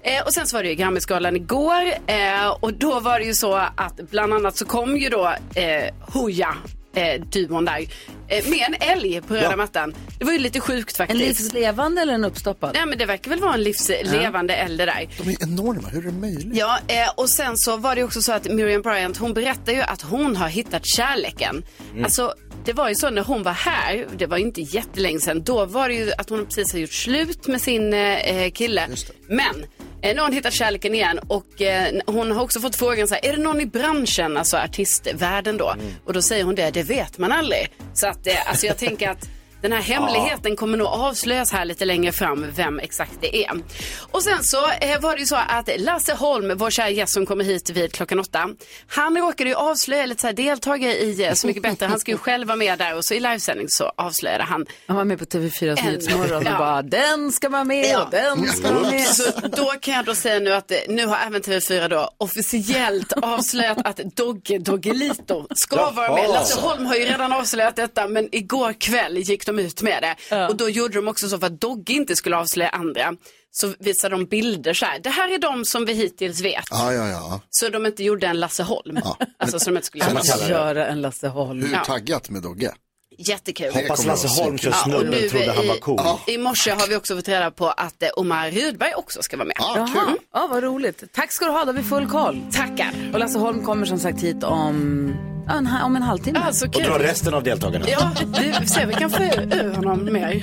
[SPEAKER 3] Eh, och sen så var det ju Grammisgalan igår eh, och då var det ju så att bland annat så kom ju då eh, Hooja, eh, duon där, eh, med en älg på röda
[SPEAKER 1] Ja.
[SPEAKER 3] mattan. Det var ju lite sjukt
[SPEAKER 1] En
[SPEAKER 3] faktiskt.
[SPEAKER 1] livslevande eller en uppstoppad?
[SPEAKER 3] Nej men det verkar väl vara en livslevande älg det där.
[SPEAKER 2] De är enorma, hur är det möjligt?
[SPEAKER 3] Ja, eh, och sen så var det också så att Miriam Bryant, hon berättar ju att hon har hittat kärleken.
[SPEAKER 2] Mm.
[SPEAKER 3] Alltså, det var ju så när hon var här, det var ju inte jättelänge sedan, då var det ju att hon precis har gjort slut med sin eh, kille. Men eh, nu har hon hittat kärleken igen och eh, hon har också fått frågan så här, är det någon i branschen, alltså artistvärlden då? Och då säger hon det, det vet man aldrig. Så att, eh, alltså jag tänker att den här hemligheten kommer nog avslöjas här lite längre fram vem exakt det är. Och sen så eh, var det ju så att Lasse Holm, vår kära gäst som kommer hit vid klockan åtta, han råkade ju avslöja lite så här deltagare i eh, Så mycket bättre. Han ska ju själv vara med där och så i livesändning så avslöjade han
[SPEAKER 1] Han var med på TV4s Nyhetsmorgon och
[SPEAKER 3] Ja.
[SPEAKER 1] bara den ska vara med och den ska vara med.
[SPEAKER 3] Så då kan jag då säga nu att eh, nu har även TV4 då officiellt avslöjat att Dogge Doggelito ska
[SPEAKER 12] Jaha,
[SPEAKER 3] vara med. Lasse
[SPEAKER 12] alltså.
[SPEAKER 3] Holm har ju redan avslöjat detta men igår kväll gick de ut med det. Och då gjorde de också så för att Dogge inte skulle avslöja andra. Så visade de bilder så här. Det här är de som vi hittills vet.
[SPEAKER 2] Ja, ja, ja.
[SPEAKER 3] Så de inte gjorde en Lasse Holm. Alltså som de inte skulle
[SPEAKER 2] Som man kallar det.
[SPEAKER 1] Göra en Lasse Holm.
[SPEAKER 2] Hur
[SPEAKER 3] Ja.
[SPEAKER 2] taggat med Dogge?
[SPEAKER 3] Jättekul.
[SPEAKER 2] Hoppas Det kommer Lasse att vara Holm kör snubben,
[SPEAKER 3] och nu
[SPEAKER 2] trodde han
[SPEAKER 3] i-
[SPEAKER 2] var cool. Ja.
[SPEAKER 3] I morse har vi också fått reda på att eh, Omar Rydberg också ska vara med.
[SPEAKER 2] Ah,
[SPEAKER 1] Jaha, ja, vad roligt. Tack ska du ha, då har vi full koll.
[SPEAKER 3] Tackar.
[SPEAKER 1] Och Lasse Holm kommer som sagt hit om, ja, en, ha- om en halvtimme.
[SPEAKER 3] Ja, så
[SPEAKER 4] Och dra resten av deltagarna.
[SPEAKER 3] Ja, vi ser vi kan få ur honom mer.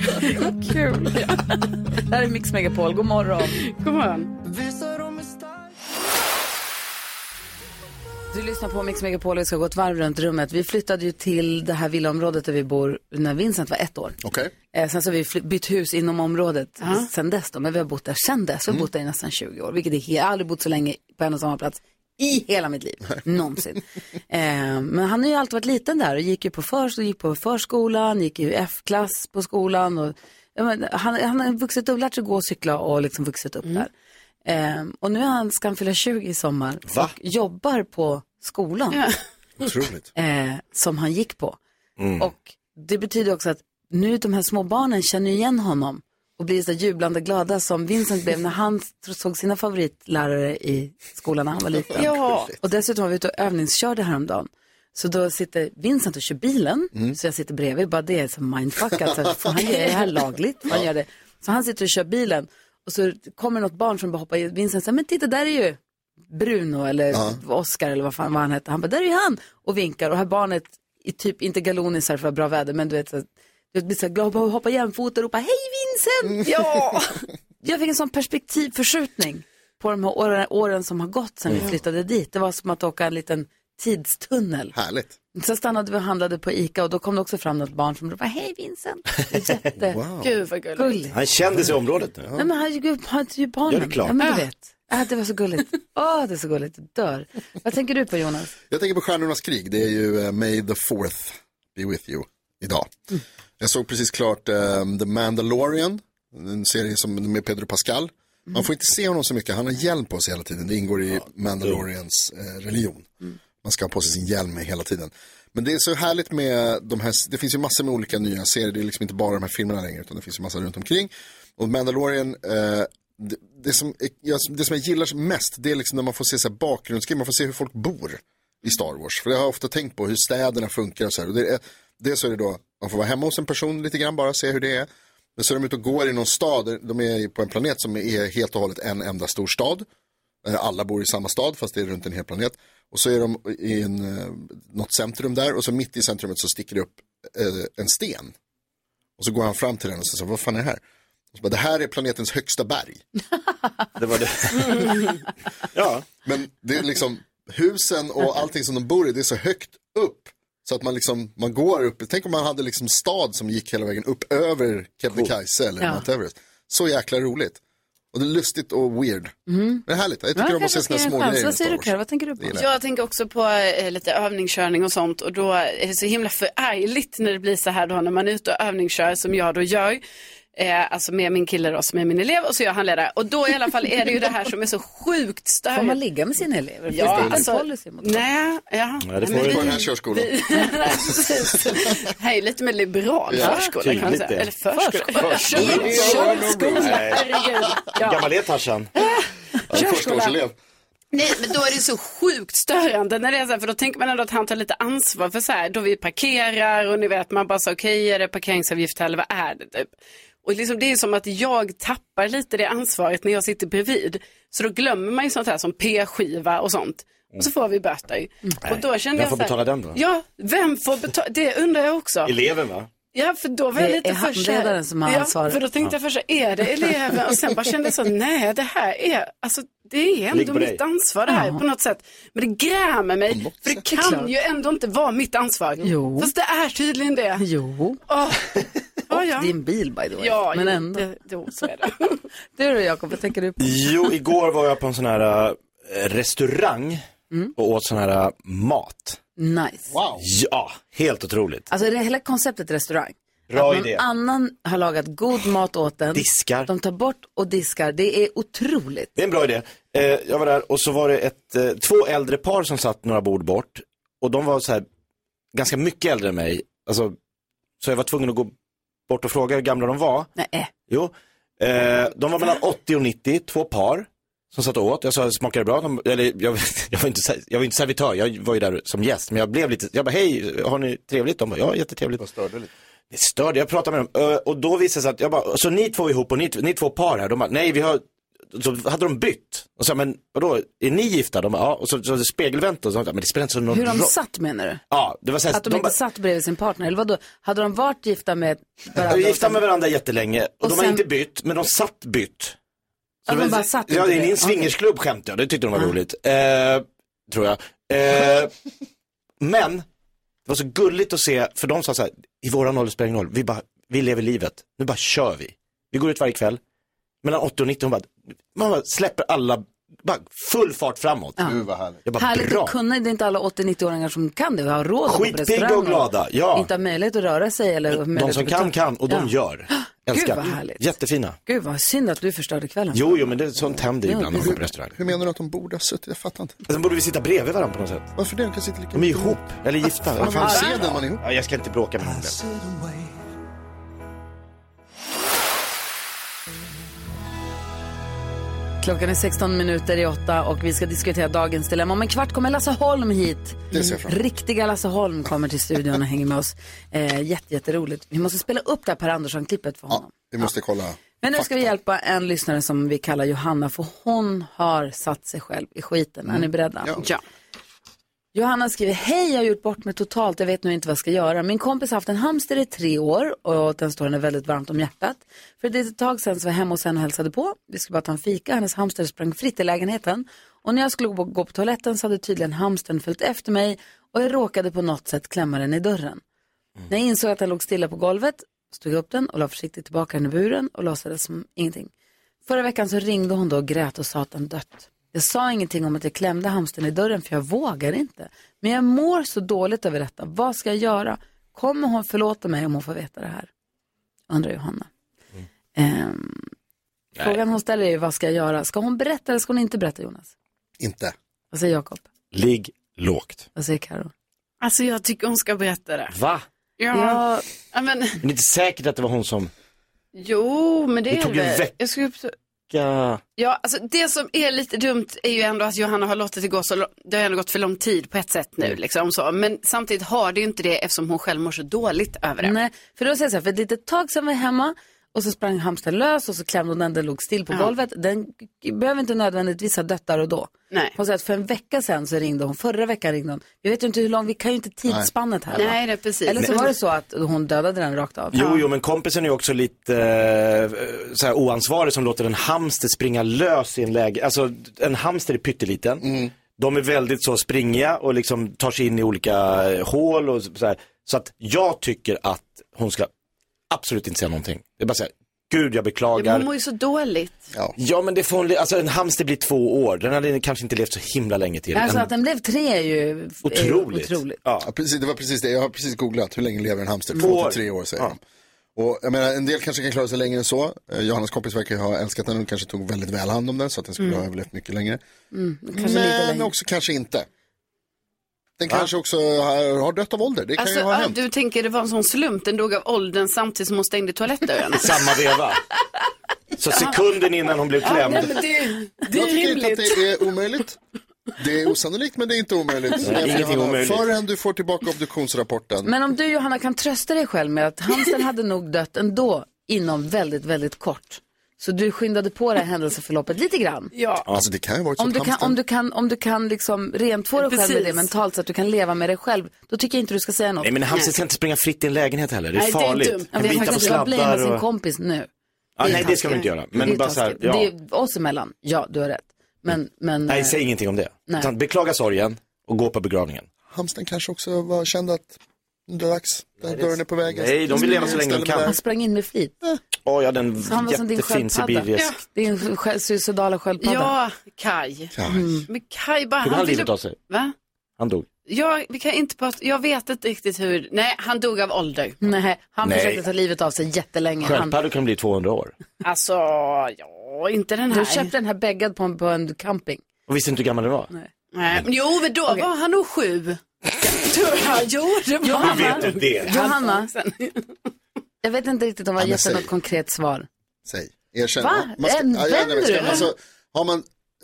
[SPEAKER 1] Kul. Det här är Mix Megapol, god morgon.
[SPEAKER 3] God morgon.
[SPEAKER 1] Du lyssnar på Mix Megapol och vi ska gå ett varv runt rummet. Vi flyttade ju till det här villaområdet där vi bor när Vincent var ett år.
[SPEAKER 2] Okej.
[SPEAKER 1] Eh, sen så har vi fly- bytt hus inom området sen dess då, men vi har bott där sen dess. Vi har bott där i nästan 20 år, vilket är he- jag har aldrig bott så länge på en och samma plats i hela mitt liv, någonsin. Eh, men han har ju alltid varit liten där och gick ju på, förs och gick på förskolan, gick ju F-klass på skolan och ja, men, han, han har vuxit upp, lärt sig gå och cykla och liksom vuxit upp där. Eh, och nu är han, ska han fylla 20 i sommar
[SPEAKER 2] Va?
[SPEAKER 1] och jobbar på skolan
[SPEAKER 2] Otroligt.
[SPEAKER 1] eh, som han gick på. Och det betyder också att nu de här små barnen känner igen honom och blir så jublande glada som Vincent blev när han såg sina favoritlärare i skolan när han var liten.
[SPEAKER 3] Ja.
[SPEAKER 1] Och dessutom var vi ute och övningskörde häromdagen. Så då sitter Vincent och kör bilen, så jag sitter bredvid. Bara det är så mindfuckat. Så här, får han göra det här lagligt? Får Han gör det. Så han sitter och kör bilen och så kommer något barn som bara hoppar i. Vincent säger, men titta där är ju Bruno eller Oscar eller vad fan vad han hette. Han bara, där är ju han och vinkar. Och här barnet, i typ inte galonisar för bra väder, men du vet, så, här, du vet blir så här glad och hoppar jämfota och ropar, hej Vincent! Ja! Jag fick en sån perspektivförskjutning på de här åren, åren som har gått sedan vi
[SPEAKER 5] Mm.
[SPEAKER 1] flyttade dit. Det var som att åka en liten tidstunnel.
[SPEAKER 2] Härligt.
[SPEAKER 1] Så stannade vi och handlade på ICA och då kom det också fram något barn som ropade, hej Vincent! Jätte...
[SPEAKER 4] Wow.
[SPEAKER 1] Gud vad gulligt.
[SPEAKER 4] Han kändes i området nu.
[SPEAKER 1] Nej men han gick upp, han är ju barnen.
[SPEAKER 4] Ja, det är klart.
[SPEAKER 1] Ja, men du
[SPEAKER 4] Ja.
[SPEAKER 1] vet. Äh, det var så gulligt. Åh, det är så gulligt. Jag Dör. Vad tänker du på Jonas?
[SPEAKER 2] Jag tänker på Stjärnornas krig, det är ju eh, May the fourth be with you idag. Jag såg precis klart eh, The Mandalorian, en serie som, med Pedro Pascal. Man får inte se honom så mycket, han har hjälm på sig hela tiden. Det ingår i Mandalorians eh, religion. Man ska ha på sig sin hjälm hela tiden. Men det är så härligt med de här, det finns ju massor med olika nya serier, det är liksom inte bara de här filmerna längre utan det finns ju massa runt omkring. Och Mandalorian, eh, det, det, som, är- jag, det som jag gillar mest det är liksom när man får se så här bakgrundsgrejer, man får se hur folk bor i Star Wars. För jag har ofta tänkt på hur städerna funkar och så här. Och det, är- dels är det då, man får vara hemma hos en person lite grann bara, se hur det är. Men så är de ute och går i någon stad, de är på en planet som är helt och hållet en enda stor stad. Eh, Alla bor i samma stad fast det är runt en hel planet. Och så är de i en, eh, något centrum där och så mitt i centrumet så sticker det upp eh, en sten. Och så går han fram till den och så säger vad fan är det här? Och så bara, det här är planetens högsta berg. *laughs* det var det. ja. Men det är liksom husen och allting som de bor i, det är så högt upp. Så att man liksom, man går upp, tänk om man hade liksom stad som gick hela vägen upp över Kebnekaise eller
[SPEAKER 1] Ja.
[SPEAKER 2] Mount Everest. Så jäkla roligt. Och det är lustigt och weird.
[SPEAKER 1] Mm.
[SPEAKER 2] Det är härligt. Jag tycker
[SPEAKER 1] Ja,
[SPEAKER 2] om att se
[SPEAKER 1] kanske
[SPEAKER 2] sådana
[SPEAKER 1] ska
[SPEAKER 2] små
[SPEAKER 1] ge en chans.
[SPEAKER 2] grejer.
[SPEAKER 1] Vad
[SPEAKER 2] med
[SPEAKER 1] säger
[SPEAKER 2] Star
[SPEAKER 1] du
[SPEAKER 2] Wars.
[SPEAKER 1] Karin? Vad tänker du på?
[SPEAKER 2] Det gillar
[SPEAKER 3] Jag tänker också på eh, lite övningskörning och sånt och då är det så himla förärligt när det blir så här då när man är ute och övningskör som jag då gör. Eh, alltså med min kille då som är min elev och så gör han ledare. Och då i alla fall är det ju det här som är så sjukt störigt.
[SPEAKER 1] Får man ligga med sina elever? Finns det
[SPEAKER 3] Ja,
[SPEAKER 1] inte en
[SPEAKER 3] alltså,
[SPEAKER 1] policy mot det?
[SPEAKER 3] nej,
[SPEAKER 1] *laughs*
[SPEAKER 3] ja.
[SPEAKER 4] Nej, det får
[SPEAKER 3] Men
[SPEAKER 4] vi
[SPEAKER 3] vi-
[SPEAKER 4] på den här körskolan.
[SPEAKER 3] vi- Nej, precis. Här är lite mer liberal
[SPEAKER 4] Ja,
[SPEAKER 3] förskola kan man
[SPEAKER 1] alltså.
[SPEAKER 4] tydligt det.
[SPEAKER 3] säga. Eller förskola.
[SPEAKER 4] Förskola.
[SPEAKER 3] Kör- Körskola,
[SPEAKER 4] Nej.
[SPEAKER 3] herregud.
[SPEAKER 4] Hur gammal är Tarzan?
[SPEAKER 3] Förskoleelev. Nej, men då är det så sjukt störande när det är så här, för då tänker man ändå att han tar lite ansvar för så här, då vi parkerar och ni vet, man bara så okej, är det parkeringsavgift här eller vad är det typ? Och liksom, det är som att jag tappar lite det ansvaret när jag sitter bredvid. Så då glömmer man ju sånt här som p-skiva och sånt. Och så får vi böter. Och då känner
[SPEAKER 4] Mm. Vem
[SPEAKER 3] jag
[SPEAKER 4] får
[SPEAKER 3] så här,
[SPEAKER 4] betala den då?
[SPEAKER 3] Ja, vem får betala? Det undrar jag också.
[SPEAKER 4] Eleven va?
[SPEAKER 3] Ja, för då var jag
[SPEAKER 1] Det
[SPEAKER 3] lite
[SPEAKER 1] är
[SPEAKER 3] för så här-
[SPEAKER 1] handledaren som har
[SPEAKER 3] ja,
[SPEAKER 1] ansvaret.
[SPEAKER 3] för då tänkte jag först, så här, är det eleven? Och sen bara kände jag så, nej, det här är, alltså det är
[SPEAKER 1] Ligger
[SPEAKER 3] ändå
[SPEAKER 1] på
[SPEAKER 3] mitt
[SPEAKER 1] dig.
[SPEAKER 3] ansvar det här
[SPEAKER 1] Ja.
[SPEAKER 3] på något sätt. Men det grämer mig, för det
[SPEAKER 1] Det är klart.
[SPEAKER 3] kan ju ändå inte vara mitt ansvar.
[SPEAKER 1] Jo.
[SPEAKER 3] Fast det är tydligen det.
[SPEAKER 1] Jo.
[SPEAKER 3] Oh. Ja, ja.
[SPEAKER 1] Och din bil by the way.
[SPEAKER 3] Ja,
[SPEAKER 1] men
[SPEAKER 3] jo,
[SPEAKER 1] ändå.
[SPEAKER 3] Det, jo, så är det.
[SPEAKER 1] *laughs* Du då Jakob, vad tänker du på?
[SPEAKER 4] Jo, igår var jag på en sån här eh, restaurang och åt sån här eh, mat.
[SPEAKER 1] Nice.
[SPEAKER 4] Ja, helt otroligt.
[SPEAKER 1] Alltså är det hela konceptet restaurang.
[SPEAKER 4] Bra
[SPEAKER 1] att någon
[SPEAKER 4] idé.
[SPEAKER 1] annan har lagat god mat åt den.
[SPEAKER 4] Diskar.
[SPEAKER 1] De tar bort och diskar. Det är otroligt.
[SPEAKER 4] Det är en bra idé. Eh, jag var där och så var det ett, eh, två äldre par som satt några bord bort. Och de var så här, ganska mycket äldre än mig. Alltså, så jag var tvungen att gå bort och fråga hur gamla de var.
[SPEAKER 1] Nej.
[SPEAKER 4] Jo, eh, de var mellan 80 och 90, två par. Som satt och åt, jag sa smakar det bra? De, eller, jag, *laughs* jag, var inte, ser- jag var inte servitör, jag var ju där som gäst. Men jag blev lite, jag bara hej, har ni trevligt? De bara, ja jättetrevligt.
[SPEAKER 2] störde lite.
[SPEAKER 4] Det störde, jag pratade med dem. Ö, Och då visade det sig att, jag bara, så ni två är ihop och ni, ni är två par här? De bara, nej vi har, så hade de bytt. Och så, men vadå, är ni gifta? De bara, ja. Och så, så spegelvänt och sånt där, men det spelar inte så någon
[SPEAKER 1] Hur de
[SPEAKER 4] roll.
[SPEAKER 1] satt menar du?
[SPEAKER 4] Ja, det var så här,
[SPEAKER 1] Att de,
[SPEAKER 4] de
[SPEAKER 1] inte
[SPEAKER 4] bara-
[SPEAKER 1] satt bredvid sin partner, eller vadå? Hade de varit gifta med varandra?
[SPEAKER 4] de är gifta med varandra jättelänge och,
[SPEAKER 1] Och
[SPEAKER 4] de
[SPEAKER 1] sen-
[SPEAKER 4] har inte bytt, men de satt bytt.
[SPEAKER 1] Ja, de
[SPEAKER 4] det var-
[SPEAKER 1] bara satt
[SPEAKER 4] ja,
[SPEAKER 1] inte
[SPEAKER 4] det är
[SPEAKER 1] det.
[SPEAKER 4] en swingersklubb skämtade jag, det tyckte de var roligt. Eh, tror jag. Eh, men, det var så gulligt att se, för de sa så här, i våran ålder spelar det ingen roll, vi, bara, vi lever livet, nu bara kör vi. Vi går ut varje kväll, mellan 80 och 90, hon bara, man bara släpper alla, bara full fart framåt.
[SPEAKER 1] Ja.
[SPEAKER 2] Gud vad härligt.
[SPEAKER 4] Jag bara,
[SPEAKER 1] Härligt
[SPEAKER 4] bra.
[SPEAKER 1] att kunna, det är inte alla 80-90-åringar som kan det, vi har råd att gå på
[SPEAKER 4] Skitpigga och
[SPEAKER 1] restaurang
[SPEAKER 4] glada, ja.
[SPEAKER 1] Inte har möjlighet att röra sig eller
[SPEAKER 4] De
[SPEAKER 1] möjlighet
[SPEAKER 4] som
[SPEAKER 1] att
[SPEAKER 4] kan
[SPEAKER 1] betala.
[SPEAKER 4] kan och de
[SPEAKER 1] Ja.
[SPEAKER 4] gör.
[SPEAKER 1] *gasps* Gud,
[SPEAKER 4] Älskar.
[SPEAKER 1] vad härligt.
[SPEAKER 4] Jättefina.
[SPEAKER 1] Gud vad synd att du förstörde kvällen.
[SPEAKER 4] Jo, jo, men det, sånt händer ju
[SPEAKER 1] Ja,
[SPEAKER 4] ibland när man
[SPEAKER 1] det-
[SPEAKER 4] går på restaurang.
[SPEAKER 2] Hur menar du att de borde ha suttit? Jag fattar inte.
[SPEAKER 4] Sen borde vi sitta bredvid varandra på något sätt.
[SPEAKER 2] Varför det? De kan sitta lika
[SPEAKER 4] De är ihop, eller gifta.
[SPEAKER 2] Vad fan, seden man är ihop.
[SPEAKER 4] Ja, jag ska inte bråka med honom.
[SPEAKER 1] Klockan är 16 minuter i åtta och vi ska diskutera dagens dilemma. Om en kvart kommer Lasse Holm hit.
[SPEAKER 2] Det ser jag fram emot.
[SPEAKER 1] Riktiga Lasse Holm kommer till studion och hänger med oss. Eh, jätte, jätteroligt. Vi måste spela upp det här Per Andersson-klippet för honom.
[SPEAKER 2] Vi måste kolla.
[SPEAKER 1] Men nu ska vi hjälpa en lyssnare som vi kallar Johanna för hon har satt sig själv i skiten. Är ni
[SPEAKER 2] Mm.
[SPEAKER 1] beredda?
[SPEAKER 3] Ja. ja.
[SPEAKER 1] Johanna skriver, hej jag har gjort bort mig totalt, jag vet nu inte vad jag ska göra. Min kompis har haft en hamster i tre år och den står henne väldigt varmt om hjärtat. För det är ett tag sedan så var jag hemma hos henne och hälsade på. Vi skulle bara ta en fika, hennes hamster sprang fritt i lägenheten. Och när jag skulle gå gå på toaletten så hade tydligen hamstern följt efter mig och jag råkade på något sätt klämma den i dörren. När jag insåg att den låg stilla på golvet stod jag upp den och la försiktigt tillbaka den i buren och låtsades som ingenting. Förra veckan så ringde hon då och grät och sa att den dött. Jag sa ingenting om att jag klämde hamstern i dörren för jag vågar inte. Men jag mår så dåligt över detta. Vad ska jag göra? Kommer hon förlåta mig om hon får veta det här? Undrar Johanna. Ehm, frågan hon ställer är ju, vad ska jag göra? Ska hon berätta eller ska hon inte berätta Jonas?
[SPEAKER 2] Inte.
[SPEAKER 1] Vad säger Jakob?
[SPEAKER 4] Ligg lågt.
[SPEAKER 1] Vad säger Karo?
[SPEAKER 3] Alltså jag tycker hon ska berätta det.
[SPEAKER 4] Va?
[SPEAKER 3] Ja. ja men,
[SPEAKER 4] Men det är inte säkert att det var hon som...
[SPEAKER 3] jo, men det,
[SPEAKER 4] Det
[SPEAKER 3] är
[SPEAKER 4] tog ju
[SPEAKER 3] väl-
[SPEAKER 4] veck-
[SPEAKER 3] jag skulle...
[SPEAKER 4] Ja.
[SPEAKER 3] Ja, alltså det som är lite dumt är ju ändå att Johanna har låtit det gå så lång- det har ändå gått för lång tid på ett sätt nu liksom så. Men samtidigt har det ju inte det eftersom hon själv mår så dåligt över det.
[SPEAKER 1] Nej, för då säger jag så här, för ett litet tag sedan var jag hemma och så sprang hamstern lös och så klämde hon den, den låg still på
[SPEAKER 3] Ja.
[SPEAKER 1] golvet. Den behöver inte nödvändigtvis ha dött där och då.
[SPEAKER 3] Nej.
[SPEAKER 1] Hon säger att för en vecka sedan så ringde hon, förra veckan ringde hon. Vi vet ju inte hur lång, vi kan ju inte tidsspannet här. va?
[SPEAKER 3] Nej, det är precis.
[SPEAKER 1] Eller så
[SPEAKER 3] Nej.
[SPEAKER 1] var det så att hon dödade den rakt av.
[SPEAKER 4] Jo, jo, men kompisen är ju också lite eh, så här oansvarig som låter en hamster springa lös i en läge. Alltså, en hamster är pytteliten. De är väldigt så springiga och liksom tar sig in i olika eh, hål och så här. Så att jag tycker att hon ska absolut inte säga någonting. Det är bara så här, gud jag
[SPEAKER 3] Ja, Hon mår
[SPEAKER 4] beklagar.
[SPEAKER 3] ju så dåligt.
[SPEAKER 2] Ja,
[SPEAKER 4] men det får hon, li- alltså en hamster blir två år. Den hade kanske inte levt så himla länge till.
[SPEAKER 1] Alltså
[SPEAKER 4] En-
[SPEAKER 1] att den blev tre är ju eh,
[SPEAKER 3] Eh,
[SPEAKER 1] är ju
[SPEAKER 4] Otroligt. Ja.
[SPEAKER 2] precis, det var precis det. Jag har precis googlat hur länge lever en hamster.
[SPEAKER 4] Mm.
[SPEAKER 2] Två
[SPEAKER 4] År.
[SPEAKER 2] till tre år säger de. Och jag menar, en del kanske kan klara sig längre än så. Eh, Johannas kompis verkar ju ha älskat den och kanske tog väldigt väl hand om den så att den skulle
[SPEAKER 1] Mm.
[SPEAKER 2] ha överlevt mycket längre.
[SPEAKER 1] Mm, kanske
[SPEAKER 2] Men
[SPEAKER 1] lite längre.
[SPEAKER 2] också kanske inte. Den kanske också har, har dött av ålder. Det kan
[SPEAKER 3] Alltså,
[SPEAKER 2] ju ha
[SPEAKER 3] ja,
[SPEAKER 2] hänt.
[SPEAKER 3] du tänker det var en sån slump, den dog av åldern samtidigt som hon
[SPEAKER 2] *laughs*
[SPEAKER 3] stängde toalettdörren.
[SPEAKER 4] Samma veva. Så sekunden innan hon blev klämd.
[SPEAKER 3] Ja, men det, det
[SPEAKER 2] jag
[SPEAKER 3] är
[SPEAKER 2] tycker inte att
[SPEAKER 3] rimligt.
[SPEAKER 2] det är omöjligt. Det är osannolikt men det är inte omöjligt.
[SPEAKER 4] Nej,
[SPEAKER 2] Så därför,
[SPEAKER 4] ingenting
[SPEAKER 2] Johanna,
[SPEAKER 4] omöjligt.
[SPEAKER 2] Förrän du får tillbaka obduktionsrapporten.
[SPEAKER 1] Men om du Johanna kan trösta dig själv med att hamstern hade nog dött ändå inom väldigt, väldigt kort. Så du skyndade på det här händelseförloppet lite grann.
[SPEAKER 3] Ja.
[SPEAKER 2] Alltså det kan ju ha varit så
[SPEAKER 1] Om
[SPEAKER 2] att
[SPEAKER 1] du, kan,
[SPEAKER 2] hamstern-
[SPEAKER 1] om, du kan, om du kan liksom rent få dig själv med
[SPEAKER 3] Precis.
[SPEAKER 1] det mentalt så att du kan leva med det själv, då tycker jag inte du ska säga något.
[SPEAKER 4] Nej men en hamster ska inte springa fritt i en lägenhet heller, det är
[SPEAKER 1] Nej,
[SPEAKER 4] farligt.
[SPEAKER 1] dumt. Ja,
[SPEAKER 4] Den
[SPEAKER 1] vi har
[SPEAKER 4] bitar
[SPEAKER 1] faktiskt
[SPEAKER 4] på
[SPEAKER 1] ska blamea
[SPEAKER 4] sladdar
[SPEAKER 1] sin
[SPEAKER 4] och-
[SPEAKER 1] kompis nu.
[SPEAKER 4] Ja,
[SPEAKER 1] är
[SPEAKER 4] nej, det ska man
[SPEAKER 1] taskigt.
[SPEAKER 4] inte göra. Men
[SPEAKER 1] Det är
[SPEAKER 4] bara så här,
[SPEAKER 1] taskigt.
[SPEAKER 4] ja.
[SPEAKER 1] Det är oss emellan, ja du har rätt. Men, men
[SPEAKER 4] Nej,
[SPEAKER 1] eh,
[SPEAKER 4] säg ingenting om det.
[SPEAKER 1] Nej.
[SPEAKER 4] Utan beklaga sorgen och gå på begravningen.
[SPEAKER 2] Hamstern kanske också var, kände att nu är det dags, den dörren är på väg. Eh,
[SPEAKER 4] Nej, de vill leva så länge de
[SPEAKER 2] Ställer mig
[SPEAKER 4] kan.
[SPEAKER 2] där.
[SPEAKER 1] han sprang in med flit.
[SPEAKER 4] Åh, ja, den
[SPEAKER 1] Så han var som din
[SPEAKER 4] jättefin
[SPEAKER 1] sköldpadda.
[SPEAKER 4] sibirisk.
[SPEAKER 1] Din sjö- suicidala sköldpadda.
[SPEAKER 3] Ja, Kaj. Men Kaj bara...
[SPEAKER 4] Tog han
[SPEAKER 3] ville-
[SPEAKER 4] livet av sig?
[SPEAKER 3] Va?
[SPEAKER 4] Han dog.
[SPEAKER 3] Jag, vi kan inte prata, jag vet inte riktigt hur, nej han dog av ålder.
[SPEAKER 1] Nej, han
[SPEAKER 4] Nej.
[SPEAKER 1] försökte ta livet av sig jättelänge. Han,
[SPEAKER 4] Sköldpaddor kan bli 200 år.
[SPEAKER 3] Alltså, ja, inte den här.
[SPEAKER 1] du köpte den här bäggad på en,
[SPEAKER 3] *laughs*
[SPEAKER 1] på en camping.
[SPEAKER 4] Och visste inte hur gammal den var?
[SPEAKER 3] Nej, men jo, men då var han nog sju. Tror jag. Jo, det var
[SPEAKER 1] Johanna.
[SPEAKER 3] han.
[SPEAKER 1] Hur vet
[SPEAKER 4] du det?
[SPEAKER 1] Johanna, *laughs* jag vet inte riktigt om jag har
[SPEAKER 2] Ja, men
[SPEAKER 1] gett dig
[SPEAKER 2] säg.
[SPEAKER 1] något konkret svar.
[SPEAKER 2] Säg, erkänn.
[SPEAKER 1] Va?
[SPEAKER 2] Man ska,
[SPEAKER 1] Än
[SPEAKER 2] ja, jag- nej, men ska
[SPEAKER 1] vänder du?
[SPEAKER 2] man så- har man,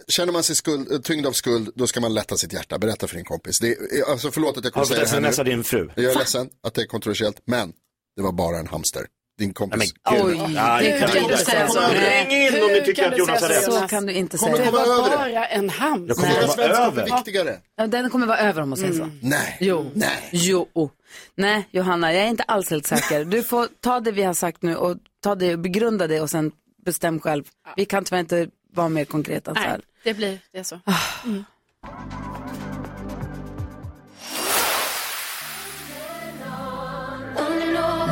[SPEAKER 2] känner man sig skuld, eh, tyngd av skuld, då ska man lätta sitt hjärta. Berätta för din kompis. Det är, alltså, förlåt att
[SPEAKER 4] Har
[SPEAKER 2] jag kommer
[SPEAKER 4] du fått
[SPEAKER 2] säga det
[SPEAKER 4] sms
[SPEAKER 2] här
[SPEAKER 4] av
[SPEAKER 2] nu.
[SPEAKER 4] din fru?
[SPEAKER 2] Jag är ledsen att det är kontroversiellt, men det var bara en hamster. Din kompis.
[SPEAKER 4] Nej, men gud.
[SPEAKER 2] Gud.
[SPEAKER 4] Oj, Ja, det hur kan kan du du säga säga så? så? Ring in om ni tycker att Jonas har rätt.
[SPEAKER 1] Så kan du inte
[SPEAKER 2] Kommer
[SPEAKER 1] säga.
[SPEAKER 2] komma
[SPEAKER 3] Det var
[SPEAKER 2] över det.
[SPEAKER 3] bara en hamster.
[SPEAKER 4] Jag kommer att vara över.
[SPEAKER 2] Viktigare.
[SPEAKER 1] Ja, Den kommer vara över om man säger så.
[SPEAKER 3] Mm.
[SPEAKER 2] Nej.
[SPEAKER 1] Jo. Nej. Jo. oh. Nej, Johanna, jag är inte alls helt säker. Du får ta det vi har sagt nu och ta det och begrunda det och sen bestäm själv. Vi kan tyvärr inte vara mer konkreta än så
[SPEAKER 3] Nej,
[SPEAKER 1] här.
[SPEAKER 3] det blir, det är så.
[SPEAKER 1] Ah.
[SPEAKER 3] Mm.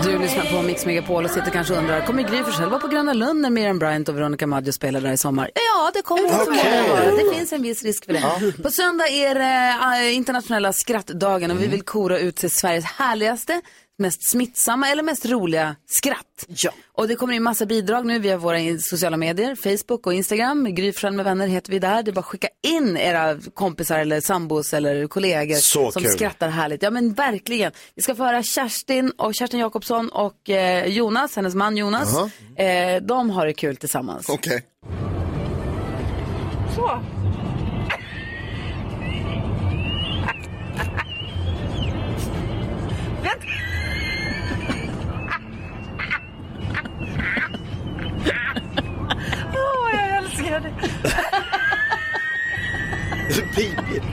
[SPEAKER 1] Du lyssnar på Mix Megapol och sitter kanske och undrar, kommer Gry Forssell vara på Gröna Lund när Miriam Bryant och Veronica Maggio spelar där i sommar? Ja, det kommer hon förmodligen vara. Det finns en viss risk för det. På söndag är det eh, internationella skrattdagen
[SPEAKER 4] Mm.
[SPEAKER 1] och vi vill kora ut till Sveriges härligaste, mest smittsamma eller mest roliga skratt. Ja. Och det kommer in massa bidrag nu via våra in- sociala medier, Facebook och Instagram. Gry Forssell med vänner heter vi där. Det är bara att skicka in era kompisar eller sambos eller kollegor
[SPEAKER 4] Så
[SPEAKER 1] som
[SPEAKER 4] kul.
[SPEAKER 1] skrattar skrattar härligt. Ja men verkligen. Vi ska få höra Kerstin och Kerstin Jakobsson och eh, Jonas, hennes man Jonas. Eh, de har det kul tillsammans.
[SPEAKER 2] Okej.
[SPEAKER 8] då?
[SPEAKER 5] Åh, jag älskar det.
[SPEAKER 4] Det är pinligt.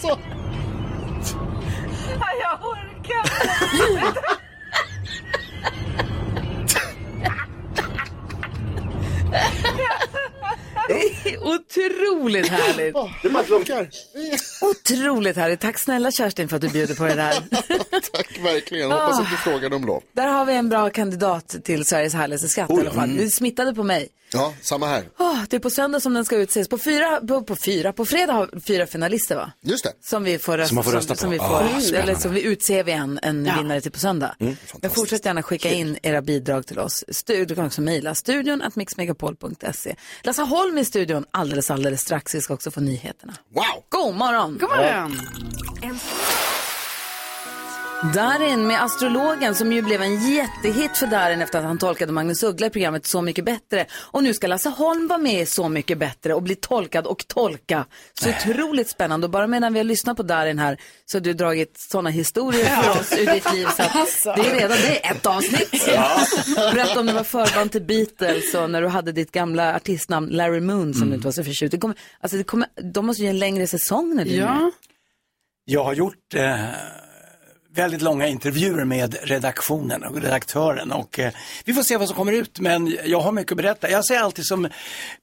[SPEAKER 8] Så. Ja, jag orkar inte.
[SPEAKER 1] Det är Otroligt härligt.
[SPEAKER 2] Det bara funkar.
[SPEAKER 1] Otroligt härligt. Tack snälla Kerstin för att du bjuder på det där.
[SPEAKER 2] Tack verkligen. Hoppas
[SPEAKER 1] Ah.
[SPEAKER 2] att du frågade om lov.
[SPEAKER 1] Där har vi en bra kandidat till Sveriges härligaste skatt i alla
[SPEAKER 2] Mm.
[SPEAKER 1] fall. Det smittade på mig.
[SPEAKER 2] Ja, samma här.
[SPEAKER 1] Åh, det är på söndag som den ska utses. På fyra, på, på fyra, på fredag har vi fyra finalister va?
[SPEAKER 2] Just det.
[SPEAKER 1] Som vi får rösta,
[SPEAKER 2] Som man får rösta
[SPEAKER 1] som, som
[SPEAKER 2] på.
[SPEAKER 1] vi
[SPEAKER 2] Ah,
[SPEAKER 1] får,
[SPEAKER 2] spännande.
[SPEAKER 1] eller som vi utser vi en, en vinnare till på söndag.
[SPEAKER 2] Mm,
[SPEAKER 1] Men fortsätt gärna skicka in era bidrag till oss. Stu- Du kan också mejla studion at mixmegapol.se. Lasse Holm i studion alldeles, alldeles strax. Vi ska också få nyheterna.
[SPEAKER 2] Wow!
[SPEAKER 1] God morgon!
[SPEAKER 5] God morgon!
[SPEAKER 1] Darin med Astrologen som ju blev en jättehit för Darin efter att han tolkade Magnus Uggla i programmet Så mycket bättre. Och nu ska Lasse Holm vara med i Så mycket bättre och bli tolkad och tolka. Så otroligt spännande. Och bara medan vi har lyssnat på Darin här så har du dragit sådana historier för oss ur ditt liv. Så att det är redan det är ett avsnitt.
[SPEAKER 5] Ja.
[SPEAKER 1] Berätta om när du var förband till Beatles och när du hade ditt gamla artistnamn Larry Moon som du inte var så förtjust i. Det kommer, alltså det kommer, de måste ju ge en längre säsong när du är med.
[SPEAKER 12] Jag har gjort eh, väldigt långa intervjuer med redaktionen och redaktören och eh, vi får se vad som kommer ut men jag har mycket att berätta. Jag säger alltid som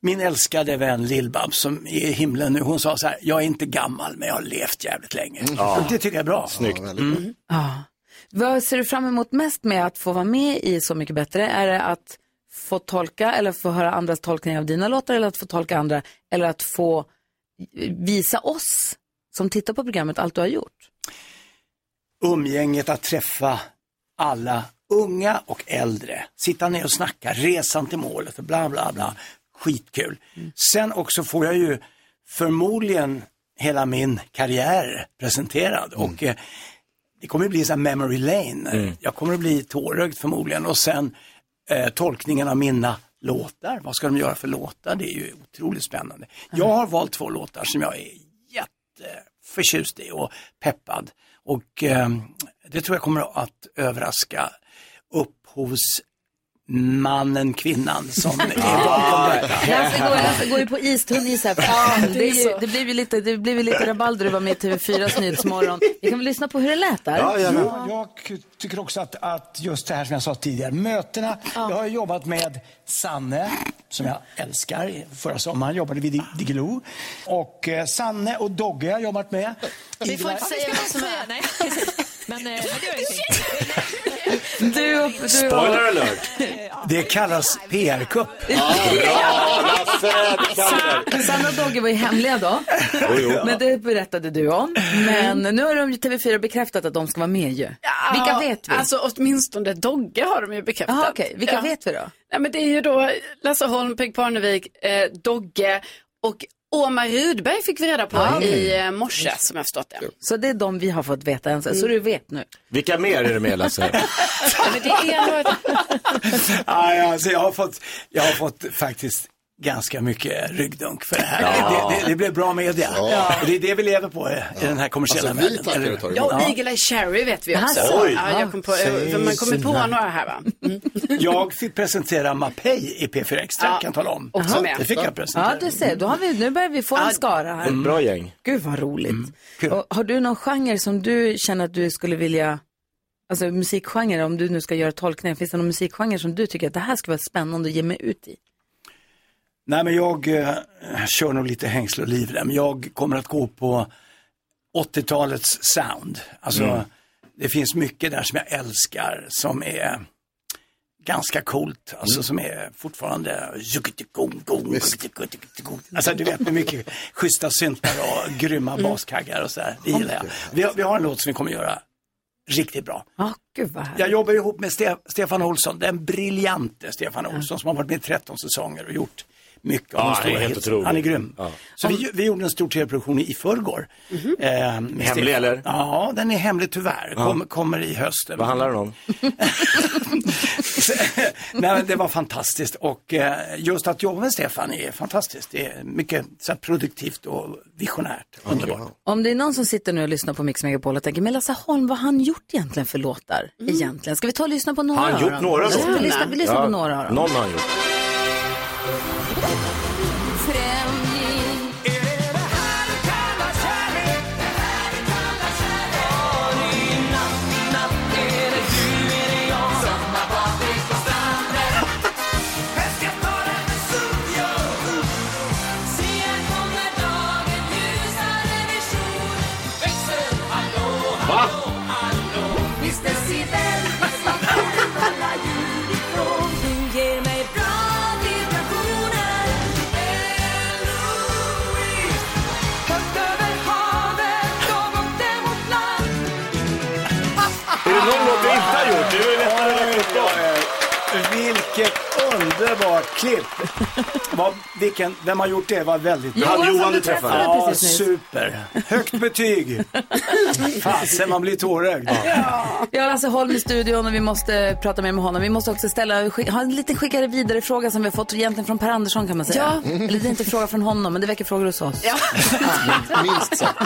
[SPEAKER 12] min älskade vän Lill-Babs som är i himlen nu, hon sa så här, jag är inte gammal men jag har levt jävligt länge.
[SPEAKER 4] Ja.
[SPEAKER 12] Och det tycker jag är bra.
[SPEAKER 4] Snyggt.
[SPEAKER 12] Mm.
[SPEAKER 1] Ja. Vad ser du fram emot mest med att få vara med i Så mycket bättre? Är det att få tolka eller få höra andras tolkning av dina låtar eller att få tolka andra eller att få visa oss som tittar på programmet allt du har gjort?
[SPEAKER 12] umgänget att träffa alla unga och äldre. Sitta ner och snacka, resan till målet och bla bla bla. Skitkul. Sen också får jag ju förmodligen hela min karriär presenterad och eh, det kommer att bli så här memory lane.
[SPEAKER 4] Mm.
[SPEAKER 12] Jag kommer att bli tårögd förmodligen och sen eh, tolkningen av mina låtar. Vad ska de göra för låtar? Det är ju otroligt spännande. Jag har valt två låtar som jag är förtjust i och peppad. Och eh, det tror jag kommer att överraska upphovsmannen, kvinnan
[SPEAKER 13] *laughs*
[SPEAKER 12] som är bakom
[SPEAKER 1] Lasse går,
[SPEAKER 12] detta.
[SPEAKER 1] Lasse går ju på istunn *laughs* is här. för fan. det, är ju, det blev ju lite, det blev ju lite rabalder att vara med i TV4s Nyhetsmorgon. Vi kan väl lyssna på hur det lät där? Mm.
[SPEAKER 12] Ja, jag tycker också att, att just det här som jag sa tidigare, mötena. Jag har jobbat med Sanne, som jag älskar. Förra sommaren jobbade vi i Diggiloo. Och eh, Sanne och Dogge har jag jobbat med.
[SPEAKER 13] Vi får inte
[SPEAKER 12] Idvar-
[SPEAKER 13] säga vad som är. *laughs* Nej. Men, eh, men det gör ingenting.
[SPEAKER 1] Du, du,
[SPEAKER 12] Spoiler alert! Det kallas PR-kupp. *laughs*
[SPEAKER 1] Ja,
[SPEAKER 4] bra, Lasse,
[SPEAKER 12] det kan du.
[SPEAKER 1] Sanna och Dogge var ju hemliga då.
[SPEAKER 12] jo.
[SPEAKER 1] Men det berättade du om. Men nu har de ju TV4 bekräftat att de ska vara med ju. Vilka vet vi?
[SPEAKER 3] Alltså åtminstone Dogge har de ju bekräftat.
[SPEAKER 1] Jaha, okej. Vilka vet vi då?
[SPEAKER 3] Nej, men det är ju då Lasse Holm, Peg Parnevik, eh, Dogge och Omar Rudberg fick vi reda på
[SPEAKER 1] Ja.
[SPEAKER 3] i eh, morse som jag har förstått det.
[SPEAKER 1] Så det är de vi har fått veta än så, så
[SPEAKER 3] Mm.
[SPEAKER 1] du vet nu.
[SPEAKER 4] Vilka mer är det med Lasse?
[SPEAKER 12] *laughs*
[SPEAKER 3] Nej, men det är nog ett...
[SPEAKER 12] Nej, alltså, jag, har fått, jag har fått faktiskt ganska mycket ryggdunk för det här.
[SPEAKER 4] Ja.
[SPEAKER 12] Det, det, det blev bra media.
[SPEAKER 4] Ja.
[SPEAKER 12] Och det är det vi lever på eh, i den här kommersiella
[SPEAKER 3] Alltså, vi
[SPEAKER 12] världen.
[SPEAKER 3] tackar
[SPEAKER 12] eller
[SPEAKER 3] och tar
[SPEAKER 12] hur?
[SPEAKER 3] emot. Ja, och Eagle Eye Cherry vet vi också.
[SPEAKER 12] Alltså. Oj.
[SPEAKER 3] ja, jag kom på,
[SPEAKER 12] Säg
[SPEAKER 3] man kommer på
[SPEAKER 12] sina-
[SPEAKER 3] några här va?
[SPEAKER 12] Jag fick presentera Mapei i P4 Extra,
[SPEAKER 3] Ja.
[SPEAKER 12] kan jag tala om.
[SPEAKER 3] Och
[SPEAKER 1] Ja.
[SPEAKER 12] det fick jag Mm. presentera.
[SPEAKER 1] Ja, du ser. Då har vi, nu börjar vi få en skara här.
[SPEAKER 12] Ett bra gäng.
[SPEAKER 1] Gud vad roligt.
[SPEAKER 4] Mm.
[SPEAKER 1] Och har du någon genre som du känner att du skulle vilja, alltså musikgenre, om du nu ska göra tolkningar, finns det någon musikgenre som du tycker att det här skulle vara spännande att ge mig ut i?
[SPEAKER 12] Nej, men jag eh, kör nog lite hängsle och livrem. Jag kommer att gå på 80-talets sound. Alltså,
[SPEAKER 9] Mm.
[SPEAKER 12] det finns mycket där som jag älskar som är ganska coolt, alltså
[SPEAKER 4] Mm.
[SPEAKER 12] som är fortfarande Alltså du vet med mycket schyssta syntar och grymma
[SPEAKER 1] Mm.
[SPEAKER 12] baskaggar och sådär. Det gillar jag. Vi har, vi har en låt som vi kommer göra riktigt bra.
[SPEAKER 1] Ja, gud vad härligt.
[SPEAKER 12] Jag jobbar ihop med Ste Stefan Olsson, den briljante Stefan Olsson som har varit med i 13 säsonger och gjort mycket av
[SPEAKER 4] Ja,
[SPEAKER 12] de
[SPEAKER 4] han är
[SPEAKER 12] stora
[SPEAKER 4] helt
[SPEAKER 12] hits.
[SPEAKER 4] otrolig.
[SPEAKER 12] Han är grym.
[SPEAKER 4] Ja.
[SPEAKER 12] Så vi, vi gjorde en stor tv-produktion i förrgår.
[SPEAKER 1] Mhm.
[SPEAKER 12] Eh, med
[SPEAKER 4] Hemlig,
[SPEAKER 12] Stefan.
[SPEAKER 4] eller?
[SPEAKER 12] Ja, den är hemlig tyvärr.
[SPEAKER 4] Ja.
[SPEAKER 12] Kommer, kommer i höst.
[SPEAKER 4] Vad handlar den om?
[SPEAKER 12] Nej, men det var fantastiskt och eh, just att jobba med Stefan är fantastiskt. Det är mycket så här, produktivt och visionärt. Underbart.
[SPEAKER 1] Om det är någon som sitter nu och lyssnar på Mix Megapol och tänker, men Lasse Holm, vad har han gjort egentligen för låtar? Egentligen? Ska vi ta och lyssna på några
[SPEAKER 4] Har Mm. han
[SPEAKER 1] av
[SPEAKER 4] gjort
[SPEAKER 1] dem?
[SPEAKER 4] några
[SPEAKER 1] Lyssna-
[SPEAKER 4] sådana?
[SPEAKER 1] Vi lyssnar, vi lyssnar på några av dem.
[SPEAKER 4] Någon har han gjort.
[SPEAKER 14] Va?
[SPEAKER 4] Är det någon låt vi inte har gjort? Det är ju nästan en
[SPEAKER 12] Vilket underbart klipp! *laughs* Vad, vilken, vem har gjort det? var väldigt bra.
[SPEAKER 4] Johan Johan du träffade. träffade
[SPEAKER 12] Ja,
[SPEAKER 4] precis nyss.
[SPEAKER 12] super. Högt betyg. Fasen, man blir tårögd.
[SPEAKER 1] Vi har Lasse Holm alltså, i studion och vi måste prata mer med honom. Vi måste också ställa, sk- ha en liten skickare vidare fråga som vi har fått egentligen från Per Andersson kan man säga. Mm.
[SPEAKER 3] Ja.
[SPEAKER 1] Eller det är inte en fråga från honom, men det väcker frågor hos oss.
[SPEAKER 2] Minst sagt.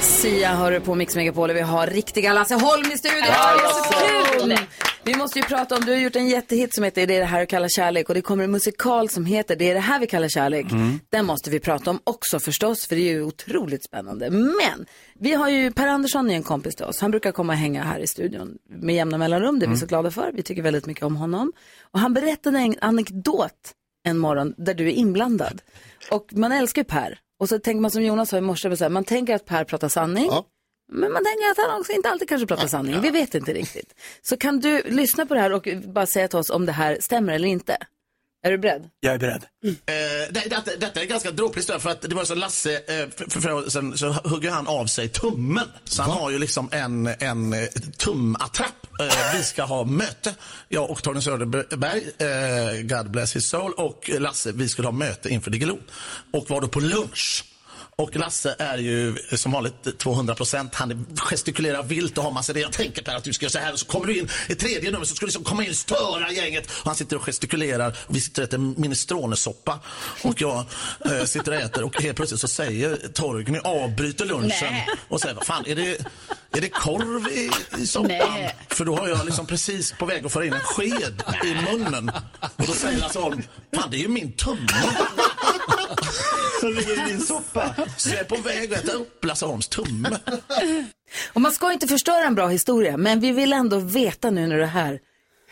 [SPEAKER 1] Sia hör du på Mix Megapol och vi har riktiga Lasse Holm i studion.
[SPEAKER 14] Ja,
[SPEAKER 1] det är så
[SPEAKER 14] Lasse.
[SPEAKER 1] kul! Vi måste ju prata om, du har gjort en jättehit som heter Det är det här vi kallar kärlek och det kommer en musikal som heter Det är det här vi kallar kärlek.
[SPEAKER 14] Mm.
[SPEAKER 1] Den måste vi prata om också förstås för det är ju otroligt spännande. Men vi har ju Per Andersson är en kompis till oss. Han brukar komma och hänga här i studion med jämna mellanrum. Det är vi så glada för. Vi tycker väldigt mycket om honom. Och han berättade en anekdot en morgon där du är inblandad. Och man älskar ju Per. Och så tänker man som Jonas sa i morse, så här, man tänker att Per pratar sanning. Men man tänker att han också inte alltid kanske pratar sanning. Vi vet inte riktigt. Så kan du lyssna på det här och bara säga till oss om det här stämmer eller inte. Är du beredd?
[SPEAKER 12] Jag är beredd.
[SPEAKER 15] Eh, det, det, detta är ganska dråpligt då, för att det var så Lasse, eh, för, för, för, sen så hugger han av sig tummen. Så han har ju liksom en, en eh, tumattrapp. Eh, vi ska ha möte, jag och Torgny Söderberg, eh, God bless his soul, och Lasse, vi skulle ha möte inför Diggiloo. Och var då på lunch. Och Lasse är ju som vanligt 200 procent. Han gestikulerar vilt och har massa det. Jag tänker Per att du ska göra så här och så kommer du in i tredje numret så ska du liksom komma in och störa gänget. Och han sitter och gestikulerar. Vi sitter och äter minestronesoppa och jag eh, sitter och äter och helt plötsligt så säger Torgny, avbryter lunchen
[SPEAKER 14] Nej.
[SPEAKER 15] och säger vad fan är det, är det korv i, i soppan?
[SPEAKER 14] Nej.
[SPEAKER 15] För då har jag liksom precis på väg att föra in en sked i munnen. Och då säger Lasse Holm, fan det är ju min tumme. Som ligger i min soppa. Så jag är på väg att äta upp Lasse Holms tumme.
[SPEAKER 1] *laughs* Och man ska inte förstöra en bra historia, men vi vill ändå veta nu när du är här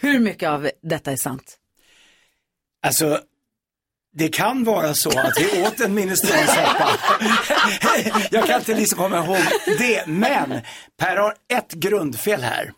[SPEAKER 1] hur mycket av detta är sant.
[SPEAKER 12] Alltså, det kan vara så att vi åt en minestronsoppa. *laughs* Jag kan inte liksom komma ihåg det, men Per har ett grundfel här.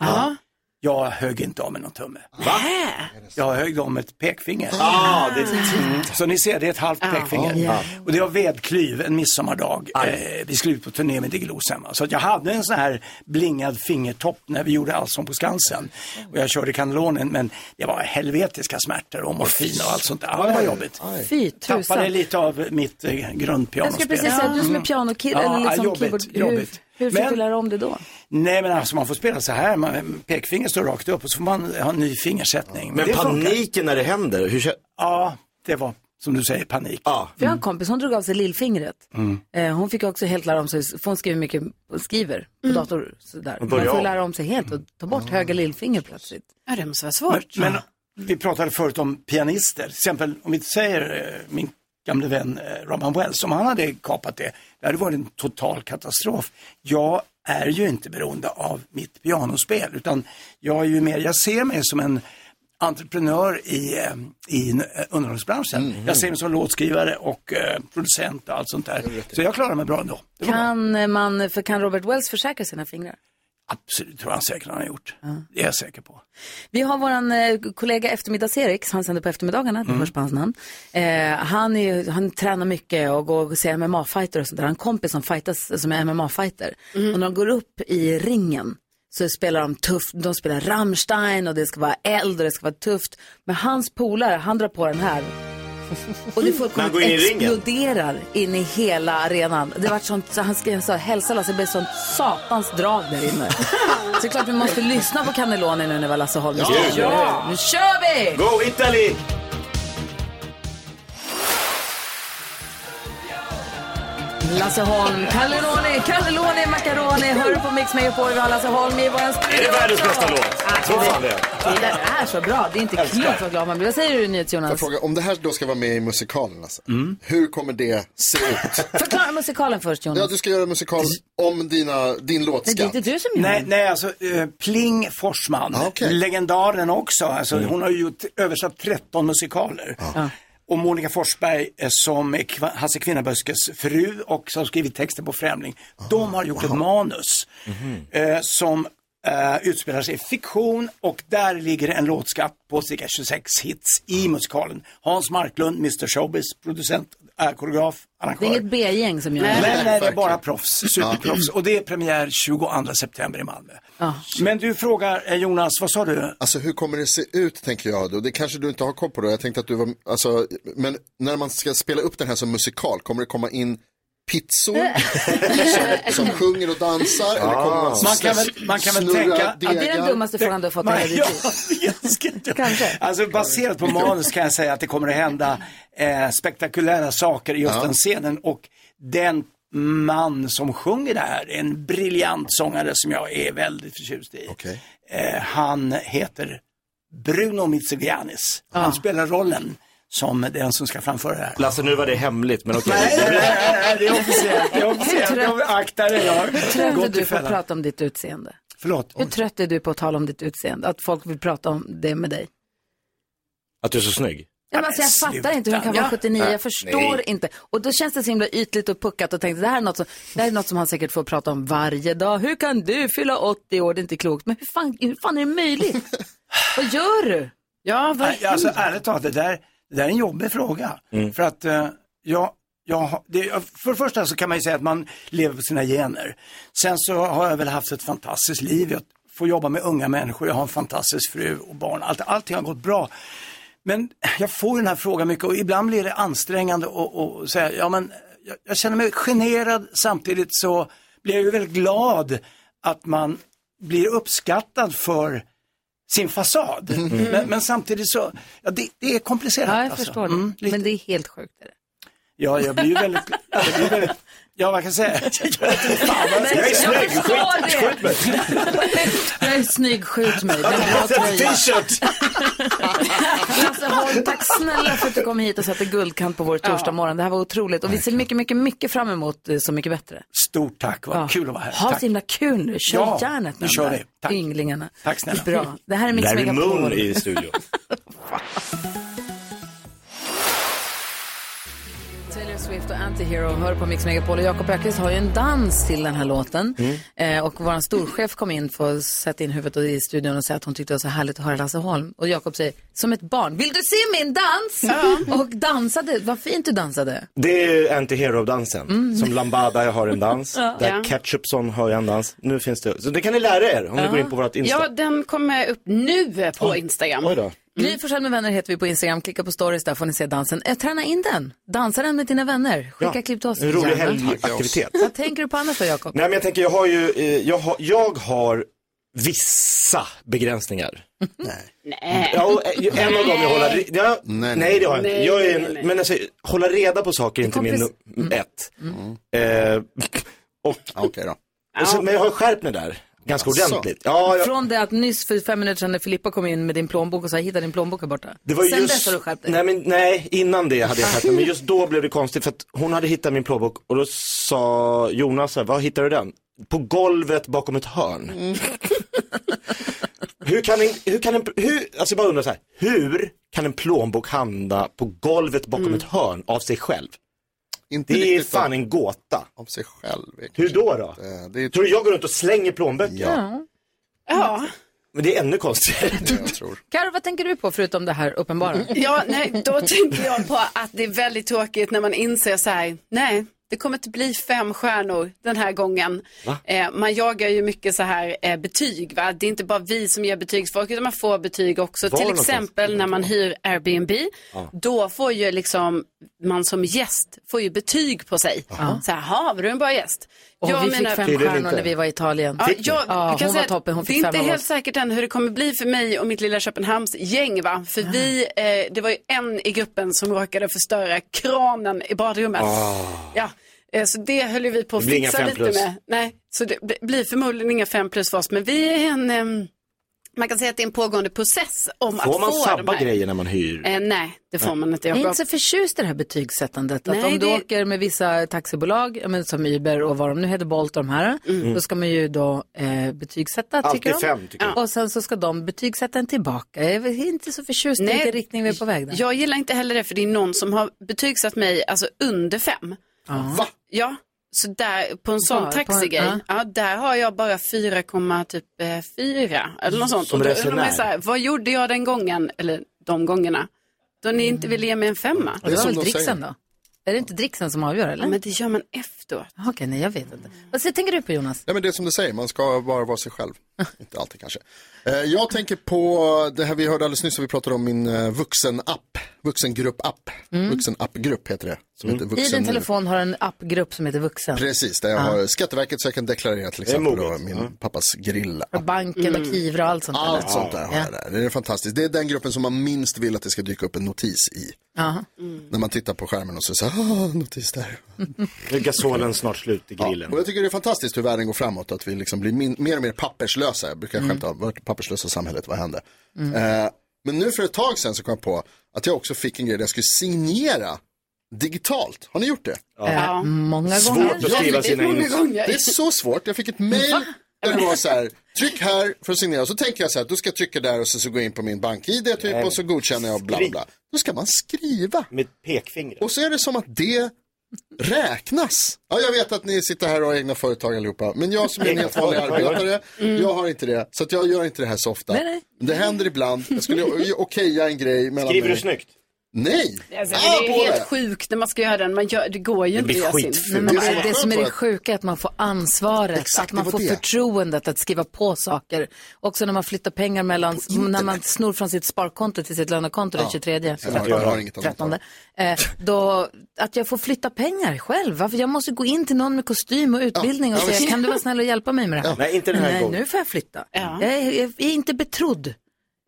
[SPEAKER 12] Jag högg inte av med någon tumme. Va?
[SPEAKER 1] Äh?
[SPEAKER 12] Jag högg av med ett pekfinger.
[SPEAKER 14] Ah, det är
[SPEAKER 12] Mm. Så ni ser, det är ett halvt
[SPEAKER 14] Ah,
[SPEAKER 12] pekfinger.
[SPEAKER 14] ja.
[SPEAKER 12] Och det var vedklyv en midsommardag. Eh, vi skulle ut på turné med Diggiloo sen. va. Så att jag hade en sån här blingad fingertopp när vi gjorde Allsång på Skansen. Och jag körde Cannellonen, men det var helvetiska smärtor och morfin och allt sånt där. Ja, det var jobbigt.
[SPEAKER 1] Fy tusan.
[SPEAKER 12] Tappade lite av mitt eh, Mm.
[SPEAKER 1] Jag
[SPEAKER 12] grundpianospel.
[SPEAKER 1] ska precis säga, du som är pianokille,
[SPEAKER 12] Ja,
[SPEAKER 1] eller liksom
[SPEAKER 12] jobbigt,
[SPEAKER 1] keyboard,
[SPEAKER 12] jobbigt.
[SPEAKER 1] hur, hur fick
[SPEAKER 12] Men-
[SPEAKER 1] du lära om det då?
[SPEAKER 12] Nej men alltså man får spela så här, man, pekfingret står rakt upp och så får man ha en ny fingersättning.
[SPEAKER 4] Men paniken
[SPEAKER 12] när det händer, hur Ja, det var som du säger panik. Mm. Ja.
[SPEAKER 1] För jag har en kompis, hon drog av sig lillfingret. Eh, hon fick också helt lära om sig, för hon skriver mycket, skriver
[SPEAKER 3] Mm.
[SPEAKER 1] på dator sådär.
[SPEAKER 12] Hon
[SPEAKER 1] Man
[SPEAKER 12] börjar
[SPEAKER 1] får
[SPEAKER 12] om. Ah.
[SPEAKER 1] lära om sig helt och ta bort höger lillfinger plötsligt.
[SPEAKER 3] Ja, det måste vara
[SPEAKER 12] Men,
[SPEAKER 3] svårt.
[SPEAKER 12] men vi pratade förut om pianister, till exempel om vi säger eh, min gamle vän eh, Robin Wells, om han hade kapat det, det hade varit en total katastrof. Jag är ju inte beroende av mitt pianospel utan jag är ju mer, jag ser mig som en entreprenör i, eh, i eh, underhållningsbranschen. Jag ser mig som låtskrivare och eh, producent och allt sånt där. Så jag klarar mig bra ändå.
[SPEAKER 1] Kan, man, för kan Robert Wells försäkra sina fingrar?
[SPEAKER 12] Absolut, tror jag säkert han har gjort. Det är jag säker på.
[SPEAKER 1] Vi har vår eh, kollega eftermiddags-Erik, han sänder på eftermiddagarna, det
[SPEAKER 12] Mm.
[SPEAKER 1] hörs på hans namn. Eh, han, är, ju- han tränar mycket och går och ser MMA-fighter och sånt där. Han har en kompis som, fightas, som är MMA-fighter. Och när de går upp i ringen så spelar de tufft, de spelar Rammstein och det ska vara eld och det ska vara tufft. Men hans polare, han drar på den här. Och det
[SPEAKER 4] Men han går in
[SPEAKER 1] fullkomligt
[SPEAKER 4] i ringen.
[SPEAKER 1] exploderar in i hela arenan. Det vart sånt, så han skrev så här, hälsa Lasse, det blev sånt satans drag där inne. Så det är klart vi måste lyssna på Cannelloni nu när vi har Lasse Holm i
[SPEAKER 4] Ja.
[SPEAKER 1] studion.
[SPEAKER 4] Ja.
[SPEAKER 1] Nu kör vi!
[SPEAKER 4] Go Italy!
[SPEAKER 1] Lasse Holm, Cannelloni, Cannelloni, Macaroni. Hör du på Mix Megapol? Vi har Lasse Holm i våran studio.
[SPEAKER 4] Är det världens
[SPEAKER 1] också.
[SPEAKER 4] bästa låt?
[SPEAKER 1] Ja,
[SPEAKER 4] Jag tror fan det.
[SPEAKER 1] Det där är så bra. Det är inte
[SPEAKER 2] Älskar.
[SPEAKER 1] klokt vad glad man blir. Vad säger du
[SPEAKER 2] Får Jag
[SPEAKER 1] NyhetsJonas?
[SPEAKER 2] fråga, om det här då ska vara med i musikalen, alltså, hur kommer det se ut?
[SPEAKER 1] *laughs* Förklara musikalen först Jonas.
[SPEAKER 2] ja, du ska göra en musikal om dina, din låtskatt.
[SPEAKER 12] Nej, nej alltså eh, Pling Forsman,
[SPEAKER 1] Ah,
[SPEAKER 12] legendaren också. Alltså,
[SPEAKER 2] Mm.
[SPEAKER 12] Hon har ju gjort, översatt 13 musikaler.
[SPEAKER 1] Ah.
[SPEAKER 12] Och Monica Forsberg eh, som är Kva- Hasse Kvinnaböskes fru och som har skrivit texten på Främling.
[SPEAKER 1] Ah,
[SPEAKER 12] De har gjort ett manus
[SPEAKER 2] Mhm.
[SPEAKER 12] eh, som eh, utspelar sig i fiktion och där ligger en låtskatt på cirka 26 hits i musikalen. Hans Marklund, Mr Showbiz, producent, eh, koreograf,
[SPEAKER 1] Det är
[SPEAKER 12] arrangör.
[SPEAKER 1] inget B-gäng som gör
[SPEAKER 12] Nej, nej,
[SPEAKER 1] det.
[SPEAKER 12] det är bara proffs, superproffs. Och det är premiär 22 september i Malmö. Men du frågar eh, Jonas, vad sa du?
[SPEAKER 2] Alltså hur kommer det se ut tänker jag då? Det kanske du inte har koll på då. Jag tänkte att du var, alltså, men när man ska spela upp den här som musikal, kommer det komma in
[SPEAKER 1] *laughs*
[SPEAKER 2] pizzor som, som sjunger och dansar? Eller kommer man,
[SPEAKER 12] Man kan väl, man kan väl
[SPEAKER 2] snurra
[SPEAKER 12] tänka...
[SPEAKER 2] degar?
[SPEAKER 1] Det är den dummaste frågan du har fått i
[SPEAKER 12] Man-
[SPEAKER 1] hela ditt
[SPEAKER 12] Ja,
[SPEAKER 1] liv.
[SPEAKER 12] jag ska inte- Alltså baserat på manus kan jag säga att det kommer att hända eh, spektakulära saker i just
[SPEAKER 2] Ja.
[SPEAKER 12] den scenen och den man som sjunger det här, är en briljant sångare som jag är väldigt förtjust i. Eh, han heter Bruno Mitsogiannis. Han spelar rollen som den som ska framföra det här.
[SPEAKER 4] Lasse, nu var det hemligt, men okej.
[SPEAKER 12] Nej, det är officiellt. Det är officiellt. Jag aktar dig. Jag
[SPEAKER 1] Hur trött är
[SPEAKER 12] gått i
[SPEAKER 1] du på att
[SPEAKER 12] fällan.
[SPEAKER 1] prata om ditt utseende?
[SPEAKER 12] Förlåt.
[SPEAKER 1] Hur trött är du på att tala om ditt utseende? Att folk vill prata om det med dig?
[SPEAKER 4] Att du är så snygg.
[SPEAKER 1] Ja, men alltså, jag fattar inte hur han kan vara 79, jag förstår inte. Och då känns det så himla ytligt och puckat och tänkte det här, är något som, det här är något som han säkert får prata om varje dag. Hur kan du fylla 80 år, det är inte klokt. Men hur fan, hur fan är
[SPEAKER 12] *laughs*
[SPEAKER 1] det möjligt? Vad gör du?
[SPEAKER 3] Ja,
[SPEAKER 12] Nej, alltså ärligt talat, det där, det där är en jobbig fråga. För att eh, jag, jag, har- det, för det första så kan man ju säga att man lever på sina gener. Sen så har jag väl haft ett fantastiskt liv. Jag får jobba med unga människor, jag har en fantastisk fru och barn. Allt, allting har gått bra. Men jag får ju den här frågan mycket och ibland blir det ansträngande att att säga, ja men jag, jag känner mig generad samtidigt så blir jag ju väldigt glad att man blir uppskattad för sin fasad.
[SPEAKER 4] Mm.
[SPEAKER 12] Men, men samtidigt så, ja, det, det är komplicerat.
[SPEAKER 1] Ja, jag
[SPEAKER 12] alltså.
[SPEAKER 1] förstår det.
[SPEAKER 12] Mm.
[SPEAKER 1] Men det är helt sjukt. Är det.
[SPEAKER 12] Ja, jag blir ju väldigt, jag blir väldigt ja vad kan jag
[SPEAKER 1] *laughs*
[SPEAKER 12] säga? Jag vet inte fan vad jag ska säga.
[SPEAKER 1] Jag förstår det. Jag är snygg, skjut mig. Det är bra tröja. Lasse Holm, tack snälla för att du kom hit och satte guldkant på vår torsdag morgon. Det här var otroligt och vi ser mycket, mycket, mycket fram emot eh, Så mycket bättre.
[SPEAKER 12] Stort tack, vad kul att vara här.
[SPEAKER 1] Ha
[SPEAKER 12] tack.
[SPEAKER 1] så himla kul nu. Kör
[SPEAKER 12] Ja,
[SPEAKER 1] järnet
[SPEAKER 12] nu
[SPEAKER 1] med de
[SPEAKER 12] kör
[SPEAKER 1] där
[SPEAKER 12] vi. Tack.
[SPEAKER 1] Ynglingarna.
[SPEAKER 12] Tack snälla.
[SPEAKER 1] Bra. Det här är Mix
[SPEAKER 4] Larry
[SPEAKER 1] Megapol.
[SPEAKER 4] Moon i
[SPEAKER 1] *laughs*
[SPEAKER 4] studion.
[SPEAKER 1] Taylor Swift och Antihero hör på Mix Megapol och Jakob Öqvist har ju en dans till den här låten.
[SPEAKER 4] Mm.
[SPEAKER 1] Eh, och vår storchef kom in för att sätta in huvudet i studion och säga att hon tyckte det var så härligt att höra Lasse Holm. Och Jakob säger, som ett barn, vill du se min dans? Och dansade, vad fint du dansade.
[SPEAKER 4] Det är anti-hero-dansen. Som Lambada har en dans.
[SPEAKER 3] Mm. *laughs* Ja.
[SPEAKER 4] Där
[SPEAKER 3] Ja.
[SPEAKER 4] Ketchupson har en dans. Nu finns det. Så det kan ni lära er om ni
[SPEAKER 3] Ja.
[SPEAKER 4] går in på vårt Insta.
[SPEAKER 3] Ja, den kommer upp nu på Instagram.
[SPEAKER 4] Oj då.
[SPEAKER 1] Mm. Gry Forssell med vänner heter vi på Instagram. Klicka på stories, där får ni se dansen. Eh, träna in den. Dansa den med dina vänner. Skicka
[SPEAKER 4] Ja.
[SPEAKER 1] klipp till oss.
[SPEAKER 4] En rolig
[SPEAKER 1] gärna.
[SPEAKER 4] helgaktivitet.
[SPEAKER 1] Vad tänker du på annars då, Jakob?
[SPEAKER 4] Nej men jag tänker, jag har ju, eh, jag har, jag har vissa begränsningar.
[SPEAKER 3] Nej.
[SPEAKER 4] Ja, och, eh, en av dem jag håller, ja, nej, det har jag inte.
[SPEAKER 3] Nej,
[SPEAKER 4] Jag är,
[SPEAKER 3] nej, nej.
[SPEAKER 4] en- men alltså, hålla reda på saker är inte min
[SPEAKER 3] komplis-
[SPEAKER 4] num- ett.
[SPEAKER 3] Mm.
[SPEAKER 4] Eh, *laughs* och, och så, men jag har skärpt mig där, ganska
[SPEAKER 1] Alltså.
[SPEAKER 4] ordentligt. Ja, jag,
[SPEAKER 1] Från det att nyss för fem minuter sedan när Filippa kom in med din plånbok och sa hitta din plånbok här borta.
[SPEAKER 4] det var ju
[SPEAKER 1] Sen
[SPEAKER 4] just,
[SPEAKER 1] dess har du skärpt dig.
[SPEAKER 4] nej, men, nej, innan det hade jag skärpt mig, men just då blev det konstigt för att hon hade hittat min plånbok och då sa Jonas, så här, var hittade du den? På golvet bakom ett hörn.
[SPEAKER 1] Mm.
[SPEAKER 4] *laughs* Hur kan en, hur kan en, hur, alltså jag bara undrar så här, hur kan en plånbok hamna på golvet bakom
[SPEAKER 1] Mm.
[SPEAKER 4] ett hörn av sig själv? det är
[SPEAKER 2] riktigt
[SPEAKER 4] fan
[SPEAKER 2] av-
[SPEAKER 4] en gåta.
[SPEAKER 2] Av sig själv.
[SPEAKER 4] Hur då då? Tror du jag går runt och slänger plånböcker?
[SPEAKER 1] Ja.
[SPEAKER 4] Men det är ännu konstigare.
[SPEAKER 1] Karo, vad tänker du på förutom det här
[SPEAKER 3] *laughs*
[SPEAKER 1] uppenbara?
[SPEAKER 3] Ja, nej, då tänkte jag på att det är väldigt tråkigt när man inser så här, nej, Det kommer inte bli fem stjärnor den här gången.
[SPEAKER 16] Va?
[SPEAKER 3] Eh, man jagar ju mycket så här eh, betyg. Va? Det är inte bara vi som ger betygsfolk utan man får betyg också.
[SPEAKER 16] Var
[SPEAKER 3] Till
[SPEAKER 16] någonstans?
[SPEAKER 3] exempel när man hyr Airbnb.
[SPEAKER 16] Ja.
[SPEAKER 3] Då får ju liksom man som gäst får ju betyg på sig.
[SPEAKER 1] Jaha.
[SPEAKER 3] Så här, "Ha, var du en bra gäst?
[SPEAKER 1] Och
[SPEAKER 3] Jag
[SPEAKER 1] vi fick
[SPEAKER 3] menar-
[SPEAKER 1] fem stjärnor när vi var i Italien.
[SPEAKER 3] Ja, jag,
[SPEAKER 1] Ja,
[SPEAKER 3] jag kan
[SPEAKER 1] hon
[SPEAKER 3] säga
[SPEAKER 1] var
[SPEAKER 3] att
[SPEAKER 1] toppen, hon
[SPEAKER 3] det är
[SPEAKER 1] fick fem
[SPEAKER 3] inte
[SPEAKER 1] av
[SPEAKER 3] helt
[SPEAKER 1] oss.
[SPEAKER 3] säkert än hur det kommer bli för mig och mitt lilla Köpenhamns gäng va. För vi, eh, det var ju en i gruppen som råkade förstöra kranen i badrummet.
[SPEAKER 16] Ah.
[SPEAKER 3] Ja. eh, Så det höll ju vi på att
[SPEAKER 16] Det blir inga
[SPEAKER 3] fixa
[SPEAKER 16] fem
[SPEAKER 3] lite
[SPEAKER 16] plus.
[SPEAKER 3] med. Nej, så det b- blir förmodligen inga fem plus för oss. Men vi är en, ehm, man kan säga att det är en pågående process om
[SPEAKER 4] Får
[SPEAKER 3] att
[SPEAKER 4] man
[SPEAKER 3] få de
[SPEAKER 4] sabba
[SPEAKER 3] här.
[SPEAKER 4] grejer när man hyr?
[SPEAKER 3] Eh, nej, det får
[SPEAKER 4] Nej.
[SPEAKER 3] man inte.
[SPEAKER 1] Jag är
[SPEAKER 3] Jakob.
[SPEAKER 1] inte så förtjust i det här betygssättandet. Att
[SPEAKER 3] Nej,
[SPEAKER 1] om du
[SPEAKER 3] det-
[SPEAKER 1] åker med vissa taxibolag, ja, men som Uber och vad de nu heter, Bolt och de här,
[SPEAKER 3] Mm.
[SPEAKER 1] då ska man ju då eh, betygsätta,
[SPEAKER 3] Alltid
[SPEAKER 1] tycker de.
[SPEAKER 3] fem, tycker jag.
[SPEAKER 1] Och sen så ska de betygsätta en tillbaka. Jag är inte så förtjust i
[SPEAKER 3] Nej.
[SPEAKER 1] vilken riktning vi är på väg där.
[SPEAKER 3] Jag gillar inte heller det för det är någon som har betygsatt mig alltså under fem.
[SPEAKER 1] Ja.
[SPEAKER 3] Va? Ja, så där på en sån
[SPEAKER 1] Bara på en-
[SPEAKER 3] taxigrej,
[SPEAKER 1] ja.
[SPEAKER 3] ja. där har jag bara 4,4 typ, eh, fyra eller något sånt.
[SPEAKER 1] Som
[SPEAKER 3] och då undrar man
[SPEAKER 1] resenär.
[SPEAKER 3] ju så här, vad gjorde jag den gången, eller de gångerna, då ni inte ville ge mig en femma?
[SPEAKER 1] Det var väl dricksen då? Är det inte dricksen som avgör eller?
[SPEAKER 3] Ja, men det gör man efteråt.
[SPEAKER 1] Okej, nej jag vet inte. Vad säger- tänker du på Jonas?
[SPEAKER 2] Nej, men det är som du säger, man ska bara vara sig
[SPEAKER 1] *laughs*
[SPEAKER 2] själv. Inte alltid kanske. Eh, Jag tänker på det här vi hörde alldeles nyss, som vi pratade om min eh, vuxenapp, vuxengrupp-app. Vuxenappgrupp heter det. Som heter
[SPEAKER 1] Mm. I din telefon Ah. har du en appgrupp som heter Vuxen.
[SPEAKER 2] Precis, där jag
[SPEAKER 1] Ja.
[SPEAKER 2] har Skatteverket så jag kan deklarera till
[SPEAKER 1] Det är
[SPEAKER 2] exempel då,
[SPEAKER 1] moget. Ah.
[SPEAKER 2] min
[SPEAKER 1] Ja.
[SPEAKER 2] pappas grill.
[SPEAKER 1] Och Banken och Kivra och allt sånt där.
[SPEAKER 2] Mm. Allt sånt där har
[SPEAKER 1] Ja.
[SPEAKER 2] jag där. Det är fantastiskt. Det är den gruppen som man minst vill att det ska dyka upp en notis i.
[SPEAKER 1] Ja.
[SPEAKER 2] När man tittar på skärmen och så säger ah, notis där.
[SPEAKER 1] Mm.
[SPEAKER 4] Nu är gasolen snart slut i grillen.
[SPEAKER 2] Och jag tycker det är fantastiskt hur världen går framåt, att vi liksom blir min- mer och mer papperslösa. Jag brukar
[SPEAKER 4] Mm.
[SPEAKER 2] skämta om, vart papperslösa samhället, vad hände?
[SPEAKER 4] Mm.
[SPEAKER 2] Eh, men nu för ett tag sedan så kom jag på att jag också fick en grej där jag skulle signera digitalt. Har ni gjort det?
[SPEAKER 1] Ja. Eh, många
[SPEAKER 2] Svårt
[SPEAKER 1] gånger.
[SPEAKER 2] att skriva sina
[SPEAKER 1] Många
[SPEAKER 2] ins-
[SPEAKER 1] gånger.
[SPEAKER 2] Det är så svårt. Jag fick ett mail där det var
[SPEAKER 4] *laughs*
[SPEAKER 2] så här, tryck här för att signera. Så tänker jag så här, då ska jag trycka där och så, så gå in på min bank-id typ och så godkänner jag bla bla, bla. Då ska man skriva.
[SPEAKER 4] Med pekfingret.
[SPEAKER 2] Och så är det som att det räknas. Ja, jag vet att ni sitter här och har egna företag allihopa, men jag som är en helt vanlig arbetare, jag har inte det. Så att jag gör inte det här så ofta.
[SPEAKER 4] Nej, nej.
[SPEAKER 2] Det händer ibland. Jag skulle o- okeja en grej mellan
[SPEAKER 4] Skriver
[SPEAKER 2] mig.
[SPEAKER 4] du snyggt?
[SPEAKER 2] Nej!
[SPEAKER 3] Alltså,
[SPEAKER 2] Ah,
[SPEAKER 3] det är
[SPEAKER 2] på
[SPEAKER 3] helt
[SPEAKER 2] det.
[SPEAKER 3] sjukt när man ska göra den, man gör, det går ju
[SPEAKER 2] Det
[SPEAKER 3] inte
[SPEAKER 2] blir
[SPEAKER 3] att göra
[SPEAKER 2] skitfult.
[SPEAKER 3] sin.
[SPEAKER 1] Men
[SPEAKER 2] Det är
[SPEAKER 1] det,
[SPEAKER 2] så
[SPEAKER 1] det som är
[SPEAKER 2] skönt
[SPEAKER 1] det
[SPEAKER 2] att-
[SPEAKER 1] sjuka är att man får ansvaret, att man
[SPEAKER 2] det
[SPEAKER 1] får
[SPEAKER 2] var det.
[SPEAKER 1] förtroendet att skriva på saker. Också när man flyttar pengar mellan, när man snor från sitt sparkonto till sitt lönekonto den
[SPEAKER 2] Ja.
[SPEAKER 1] 23,
[SPEAKER 2] Jag har- jag har inget annat
[SPEAKER 1] 13. Eh, då, att jag får flytta pengar själv. Varför? Jag måste gå in till någon med kostym och utbildning och
[SPEAKER 4] Ja,
[SPEAKER 1] säga,
[SPEAKER 4] visst.
[SPEAKER 1] kan du vara snäll och hjälpa mig med det här?
[SPEAKER 4] Nej, inte den här
[SPEAKER 1] Nej,
[SPEAKER 4] gången.
[SPEAKER 1] nu får jag flytta. Jag, är, jag är inte betrodd.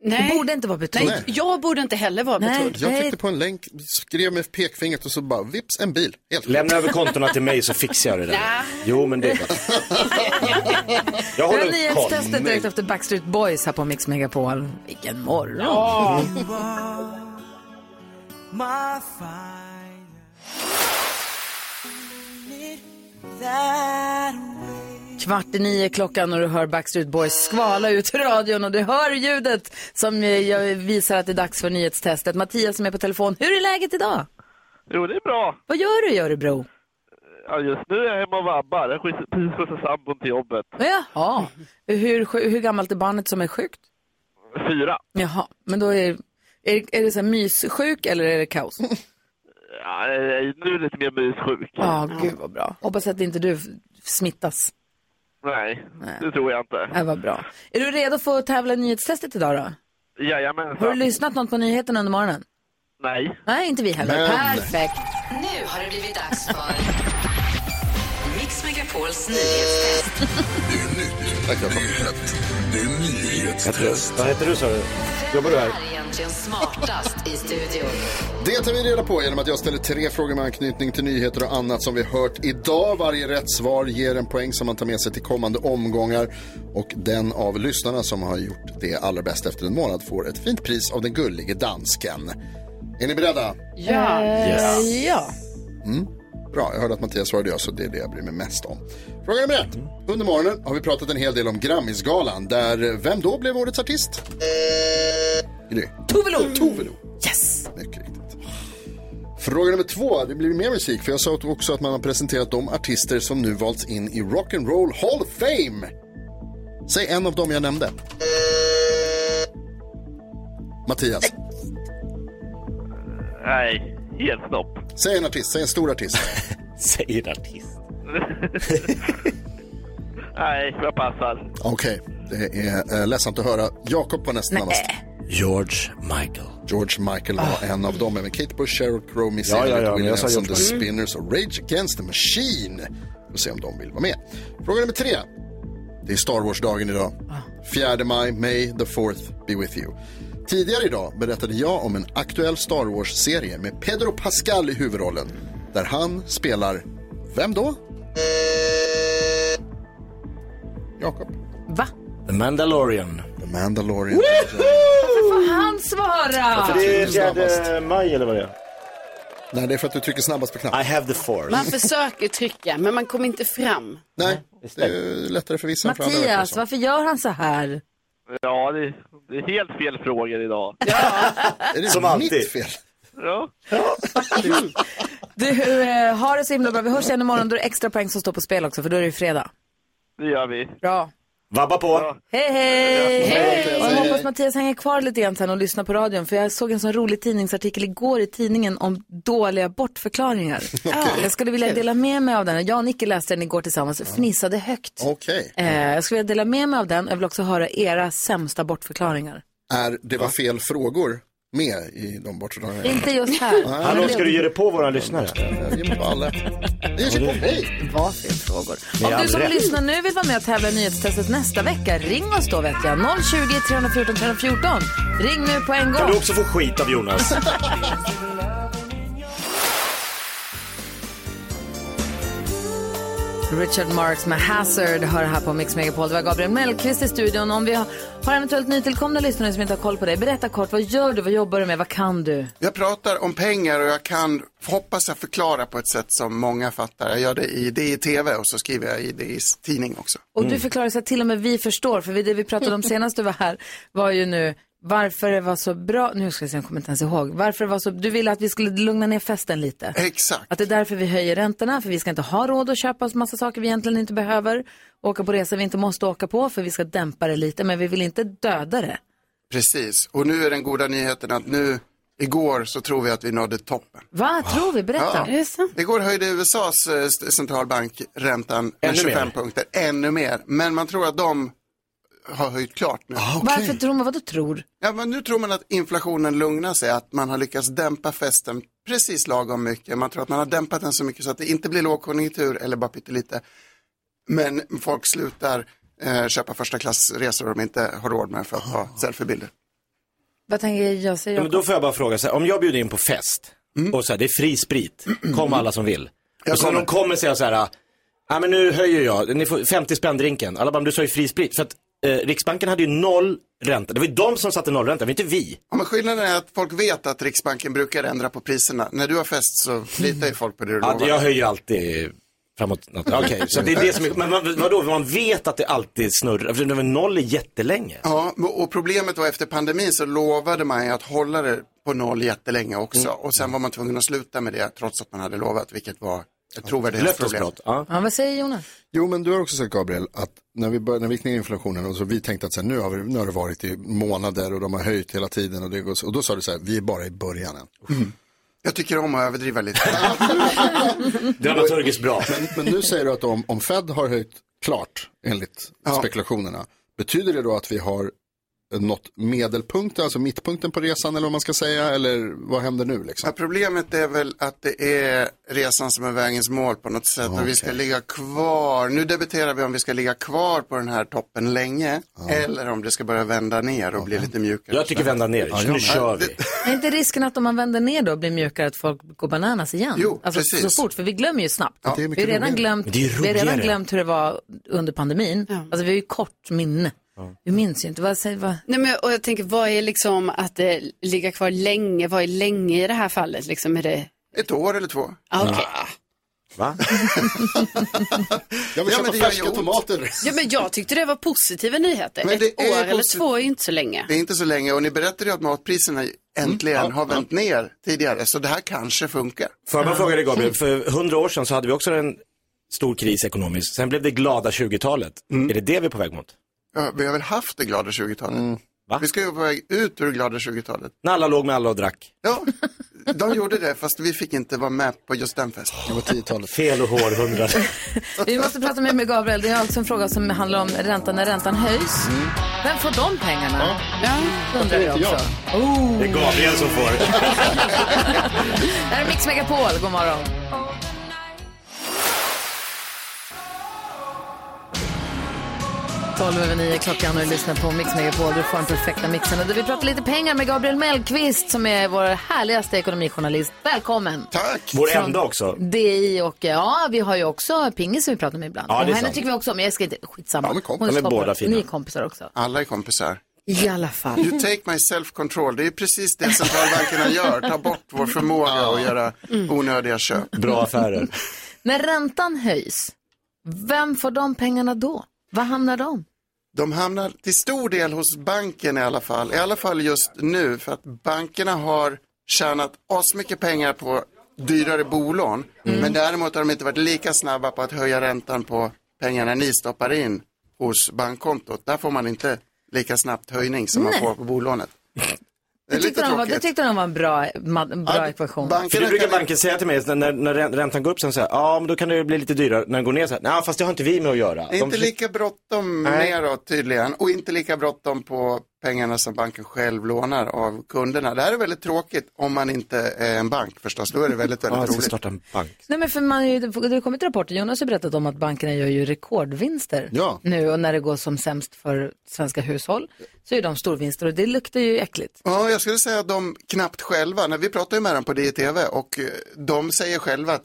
[SPEAKER 3] Nej.
[SPEAKER 1] Du borde inte vara betrodd.
[SPEAKER 2] Nej.
[SPEAKER 3] Jag borde inte heller vara
[SPEAKER 1] Nej.
[SPEAKER 2] Jag tryckte på en länk, skrev med pekfingret och så bara vips, en bil. Helt
[SPEAKER 4] Lämna över kontona till mig så fixar jag det där. Jo, men det är bra. Jag
[SPEAKER 1] Det var
[SPEAKER 4] håller
[SPEAKER 1] nyhetstestet direkt
[SPEAKER 4] koll.
[SPEAKER 1] efter Backstreet Boys här på Mix Megapol. Vilken morgon!
[SPEAKER 14] Ja.
[SPEAKER 1] Kvart i nio klockan och du hör Backstreet Boys skvala ut i radion och du hör ljudet som eh, jag visar att det är dags för nyhetstestet. Mattias som är på telefon, hur är läget idag?
[SPEAKER 17] Jo, det är bra.
[SPEAKER 1] Vad gör du i Örebro?
[SPEAKER 17] Ja, just nu är jag hemma och vabbar. Jag har precis skjutsat sambon till jobbet.
[SPEAKER 1] Jaha, hur, sj- hur gammalt är barnet som är sjukt?
[SPEAKER 17] Fyra.
[SPEAKER 1] Jaha, men då är, är, är det så här myssjuk eller är det kaos?
[SPEAKER 17] Ja, eh, nu är det lite mer myssjuk.
[SPEAKER 1] Ja, gud vad bra. Hoppas att inte du f- smittas.
[SPEAKER 17] Nej, det tror jag inte.
[SPEAKER 1] Det var bra. Är du redo för att tävla i nyhetstestet idag då?
[SPEAKER 17] Jajamensan.
[SPEAKER 1] Har du lyssnat något på nyheterna under morgonen? *laughs*
[SPEAKER 17] Nej.
[SPEAKER 1] Nej, inte vi heller.
[SPEAKER 17] Men-
[SPEAKER 1] Perfekt.
[SPEAKER 18] Nu har det blivit dags för Mix Megapols nyhetstest.
[SPEAKER 2] Tack, jag kom.
[SPEAKER 4] Nyhetstest. Vad heter du sa du? Jobbar du här?
[SPEAKER 18] Är egentligen smartast i studion.
[SPEAKER 2] Det tar vi reda på genom att jag ställer tre frågor med anknytning till nyheter och annat som vi hört idag. Varje rätt svar ger en poäng som man tar med sig till kommande omgångar. Och den av lyssnarna som har gjort det allra bäst efter en månad får ett fint pris av den gullige dansken. Är ni beredda?
[SPEAKER 1] Ja.
[SPEAKER 2] Yes.
[SPEAKER 1] ja.
[SPEAKER 2] Mm. Bra, jag hörde att Mattias svarade ja, så det är det jag bryr mig mest om. Fråga nummer ett. Under morgonen har vi pratat en hel del om Grammisgalan, där vem då blev årets artist? Gry.
[SPEAKER 1] Tove Lo!
[SPEAKER 2] Tove Lo.
[SPEAKER 1] Yes!
[SPEAKER 2] Mycket riktigt. Fråga nummer två, det blir mer musik, för jag sa också att man har presenterat de artister som nu valts in i Rock'n'Roll Hall of Fame. Säg en av dem jag nämnde. Mattias,
[SPEAKER 17] Nej, helt snopp.
[SPEAKER 2] säg en artist, säg en stor artist.
[SPEAKER 4] Säger artist.
[SPEAKER 17] Nej, jag passar.
[SPEAKER 2] Okej, det är eh, ledsamt att höra. Jakob var nästan närmast.
[SPEAKER 4] George Michael.
[SPEAKER 2] George Michael var en av dem. Även Kate Bush, Sheryl Crow, Missy
[SPEAKER 4] Ja, ja, ja,
[SPEAKER 2] Elliott,
[SPEAKER 4] men jag
[SPEAKER 2] Williams
[SPEAKER 4] sa
[SPEAKER 2] and The
[SPEAKER 4] George Michael. Mm.
[SPEAKER 2] Spinners och Rage Against the Machine. Vi får se om de vill vara med. Fråga nummer tre. Det är Star Wars-dagen idag. 4 maj, May the 4th be with you. Tidigare idag berättade jag om en aktuell Star Wars-serie med Pedro Pascal i huvudrollen. Där han spelar, vem då? Jakob.
[SPEAKER 1] Va?
[SPEAKER 4] The Mandalorian.
[SPEAKER 1] Eh.
[SPEAKER 2] The Mandalorian.
[SPEAKER 1] Varför får han svara?
[SPEAKER 4] maj eller vad det är?
[SPEAKER 2] Nej, det är för att du trycker snabbast på knappen.
[SPEAKER 4] I have the force.
[SPEAKER 3] Man försöker trycka, men man kommer inte fram.
[SPEAKER 2] Nej, det är lättare för vissa än för andra. verkar det
[SPEAKER 1] Mattias,
[SPEAKER 2] som.
[SPEAKER 1] varför gör han så här?
[SPEAKER 17] Ja, det, det är helt fel
[SPEAKER 2] *laughs*
[SPEAKER 17] frågor idag.
[SPEAKER 2] Är det
[SPEAKER 4] Som alltid.
[SPEAKER 2] mitt fel?
[SPEAKER 17] Ja.
[SPEAKER 1] Du, eh, har det så himla bra. Vi hörs igen imorgon. Då är det extra poäng som står på spel också, för då är det ju fredag.
[SPEAKER 17] Det gör vi.
[SPEAKER 1] Bra.
[SPEAKER 4] Vabba på.
[SPEAKER 1] Hej, hej!
[SPEAKER 4] Hej!
[SPEAKER 1] Och jag hoppas Mattias hänger kvar lite grann sen och lyssnar på radion. För jag såg en sån rolig tidningsartikel igår i tidningen om dåliga bortförklaringar. Jag skulle vilja dela med mig av den. Jag och Nicke läste den igår tillsammans och fnissade högt.
[SPEAKER 2] Okej.
[SPEAKER 1] Eh, jag skulle vilja dela med mig av den. Jag vill också höra era sämsta bortförklaringar.
[SPEAKER 2] Är det var fel frågor med i de bortre
[SPEAKER 1] Inte just här.
[SPEAKER 4] Hallå, ska du ge dig på våra lyssnare?
[SPEAKER 2] Ge mig på alla. Ge sig på mig.
[SPEAKER 1] Vad fel frågor.
[SPEAKER 4] Med
[SPEAKER 1] Om
[SPEAKER 4] all
[SPEAKER 1] du som
[SPEAKER 4] rätt.
[SPEAKER 1] lyssnar nu vill vara med och tävla i nyhetstestet nästa vecka, ring oss då vet jag. 020 314 314. Ring nu på en gång.
[SPEAKER 4] Kan du också få skit av Jonas?
[SPEAKER 1] *laughs* Richard Marks med Hazard hör här på Mix Megapol. Det var Gabriel Mellqvist i studion. Om vi har, har eventuellt nytillkomna lyssnare som inte har koll på dig, berätta kort. Vad gör du? Vad jobbar du med? Vad kan du?
[SPEAKER 16] Jag pratar om pengar och jag kan, hoppas jag förklara på ett sätt som många fattar. Jag gör det i, det i tv och så skriver jag i det i tidning också. Mm.
[SPEAKER 1] Och du förklarar så att till och med vi förstår, för vi- det vi
[SPEAKER 16] *laughs*
[SPEAKER 1] pratade om senast du var här var ju nu varför det var så bra, nu ska jag se, jag kommer inte ens ihåg, varför det var så, du ville att vi skulle lugna ner festen lite.
[SPEAKER 16] Exakt.
[SPEAKER 1] Att det är därför vi höjer räntorna, för vi ska inte ha råd att köpa oss massa saker vi egentligen inte behöver, åka på resor vi inte måste åka på, för vi ska dämpa det lite, men vi vill inte döda det.
[SPEAKER 16] Precis, och nu är den goda nyheten att nu, igår så tror vi att vi nådde toppen.
[SPEAKER 1] Va, tror vi? Berätta.
[SPEAKER 16] Ja. Igår höjde USAs eh, st- centralbank räntan med
[SPEAKER 1] Ännu
[SPEAKER 16] 25
[SPEAKER 1] mer.
[SPEAKER 16] punkter, ännu mer. Men man tror att de har höjt klart
[SPEAKER 1] Ah,
[SPEAKER 16] nu.
[SPEAKER 1] Varför tror man, vadå tror?
[SPEAKER 16] Ja, men nu tror man att inflationen lugnar sig, att man har lyckats dämpa festen precis lagom mycket. Man tror att man har dämpat den så mycket så att det inte blir lågkonjunktur eller bara pyttelite. Men folk slutar eh, köpa första klassresor om de inte har råd med för att
[SPEAKER 1] Ah.
[SPEAKER 16] ta selfiebilder.
[SPEAKER 1] Vad tänker jag säga?
[SPEAKER 4] Ja, men då får jag bara fråga, så här, om jag bjuder in på fest och så här, det är fri sprit, kom alla som vill.
[SPEAKER 16] Jag
[SPEAKER 4] och sen
[SPEAKER 16] kommer.
[SPEAKER 4] de kommer säga Mm. så här, ja men nu höjer jag, ni får 50 spänn drinken. Alla bara, men du sa ju fri sprit. För att eh, Riksbanken hade ju noll ränta, det var ju de som satte nollränta, det var inte vi.
[SPEAKER 16] Ja, men skillnaden är att folk vet att Riksbanken brukar ändra på priserna. När du har fest så litar ju folk på det du
[SPEAKER 4] Ja,
[SPEAKER 16] lovar.
[SPEAKER 4] jag höjer ju alltid framåt natten. Okej, så det är det som är, men man, vadå, man vet att det alltid snurrar, för det var noll är jättelänge.
[SPEAKER 16] Ja, men- och problemet var efter pandemin så lovade man ju att hålla det på noll jättelänge också.
[SPEAKER 4] Mm.
[SPEAKER 16] Och sen var man tvungen att sluta med det trots att man hade lovat, vilket var ett trovärdighetsproblem.
[SPEAKER 4] Löftesbrott, ja.
[SPEAKER 1] Ja, vad säger Jonas?
[SPEAKER 2] Jo, men du har också sagt Gabriel att när vi, bör, när vi gick ner i inflationen och så vi tänkte att så här, nu, har vi, nu har det varit i månader och de har höjt hela tiden och, det går, så- och då sa du så här, vi är bara i början än.
[SPEAKER 16] Mm. Jag tycker om att överdriva
[SPEAKER 4] *laughs*
[SPEAKER 16] lite.
[SPEAKER 4] Dramaturgiskt bra.
[SPEAKER 2] Men, men nu säger du att om, om Fed har höjt klart enligt spekulationerna, betyder det då att vi har nått medelpunkten, alltså mittpunkten på resan eller vad man ska säga, eller vad händer nu liksom?
[SPEAKER 16] Ja, problemet är väl att det är resan som är vägens mål på något sätt. Och vi ska
[SPEAKER 2] Okej.
[SPEAKER 16] ligga kvar. Nu debiterar vi om vi ska ligga kvar på den här toppen länge. Eller om det ska börja vända ner och bli lite mjukare.
[SPEAKER 4] Jag tycker vända ner,
[SPEAKER 16] Ja, jag
[SPEAKER 4] nu
[SPEAKER 16] med.
[SPEAKER 4] kör vi.
[SPEAKER 1] Är inte risken att om man vänder ner då blir mjukare att folk går bananas igen?
[SPEAKER 16] Jo,
[SPEAKER 1] alltså,
[SPEAKER 16] precis.
[SPEAKER 1] Så fort, för vi glömmer ju snabbt.
[SPEAKER 16] Ja, det är
[SPEAKER 1] vi, har
[SPEAKER 16] mycket
[SPEAKER 1] redan
[SPEAKER 16] roligare.
[SPEAKER 1] glömt,
[SPEAKER 16] Det är
[SPEAKER 1] vi har redan
[SPEAKER 16] roligare.
[SPEAKER 1] glömt hur det var under pandemin. Alltså vi har ju kort minne. Vi minns ju inte. Vad säger, vad?
[SPEAKER 3] Nej, men, och jag tänker, vad är liksom att eh, ligga kvar länge? Vad är länge i det här fallet? Liksom, är det...
[SPEAKER 16] Ett år eller två.
[SPEAKER 3] Ah, okej.
[SPEAKER 2] *laughs*
[SPEAKER 4] Va?
[SPEAKER 2] Jag vill
[SPEAKER 16] Ja,
[SPEAKER 2] köpa
[SPEAKER 16] men det gör
[SPEAKER 2] färska
[SPEAKER 16] ju ont.
[SPEAKER 2] tomater.
[SPEAKER 3] Ja, men jag tyckte det var positiva nyheter.
[SPEAKER 16] Men det
[SPEAKER 3] Ett
[SPEAKER 16] är
[SPEAKER 3] år eller
[SPEAKER 16] posit-
[SPEAKER 3] två är ju inte så länge.
[SPEAKER 16] Det är inte så länge och ni berättade ju att matpriserna äntligen
[SPEAKER 2] Mm.
[SPEAKER 16] har vänt ner tidigare. Så det här kanske funkar.
[SPEAKER 4] Får jag bara fråga dig Gabriel, för hundra år sedan så hade vi också en stor kris ekonomiskt. Sen blev det glada 20-talet. Är det det vi är på väg mot?
[SPEAKER 16] Ja, Mm. vi har väl haft det
[SPEAKER 2] Mm.
[SPEAKER 16] glada 20-talet? Vi ska ju på väg ut ur glada 20-talet.
[SPEAKER 4] När alla låg med alla och drack.
[SPEAKER 16] Ja, De gjorde det, fast vi fick inte vara med på just den festen.
[SPEAKER 2] Det var 10-talet.
[SPEAKER 4] Fel och hårhundrade.
[SPEAKER 1] Vi måste prata mer med Gabriel. Det är också en fråga som handlar om räntan när räntan höjs.
[SPEAKER 16] Mm.
[SPEAKER 1] Vem får de pengarna? Ja. Undrar jag också. Oh.
[SPEAKER 4] Det är Gabriel som får.
[SPEAKER 1] Det här är Mix Megapol. God morgon. Tolv över nio klockan och du lyssnar på Mix Megapol. Du får den perfekta mixen. Och Där vi pratar lite pengar med Gabriel Mellqvist som är vår härligaste ekonomijournalist. Välkommen!
[SPEAKER 16] Tack!
[SPEAKER 4] Vår enda också.
[SPEAKER 1] DI och ja, vi har ju också pingis som vi pratar om ibland.
[SPEAKER 4] Ja, det är
[SPEAKER 1] och henne
[SPEAKER 4] sant.
[SPEAKER 1] tycker vi också om, men jag ska inte, skitsamma. Ja,
[SPEAKER 16] kompisar. De är båda fina.
[SPEAKER 1] Ni är kompisar också.
[SPEAKER 16] Alla är kompisar.
[SPEAKER 1] I alla fall.
[SPEAKER 16] You take my self-control. Det är ju precis det centralbankerna gör. Ta bort vår förmåga att göra onödiga köp.
[SPEAKER 4] Bra affärer.
[SPEAKER 1] När räntan höjs, vem får de pengarna då? Var hamnar de?
[SPEAKER 16] De hamnar till stor del hos banken i alla fall. I alla fall just nu för att bankerna har tjänat asmycket pengar på dyrare bolån.
[SPEAKER 4] Mm.
[SPEAKER 16] Men däremot har de inte varit lika snabba på att höja räntan på pengarna ni stoppar in hos bankkontot. Där får man inte lika snabbt höjning som
[SPEAKER 1] Nej.
[SPEAKER 16] man får på
[SPEAKER 4] *laughs*
[SPEAKER 16] bolånet. Det är
[SPEAKER 1] Det tyckte,
[SPEAKER 16] lite
[SPEAKER 1] de var, det
[SPEAKER 16] tråkigt.
[SPEAKER 1] tyckte de var en bra, ma- bra ekvation.
[SPEAKER 4] För det brukar banken säga till mig när, när, när räntan går upp sen så här, ja men då kan det bli lite dyrare. När den går ner så här, nej fast det har inte vi med att göra.
[SPEAKER 16] Det är inte
[SPEAKER 4] försöker-
[SPEAKER 16] lika bråttom
[SPEAKER 4] Nej.
[SPEAKER 16] neråt tydligen och inte lika bråttom på pengarna som banken själv lånar av kunderna. Det här är väldigt tråkigt om man inte är en bank förstås. Då är det väldigt,
[SPEAKER 4] Ja, jag
[SPEAKER 16] väldigt
[SPEAKER 4] ska
[SPEAKER 16] roligt.
[SPEAKER 4] starta en bank.
[SPEAKER 1] Nej, men för man, är ju- det har kommit rapporter, Jonas har berättat om att bankerna gör ju rekordvinster nu och när det går som sämst för svenska hushåll så är de storvinster och det luktar ju äckligt.
[SPEAKER 16] Ja, jag skulle säga att de knappt själva, när vi pratar ju med dem på DTV och eh, de säger själva att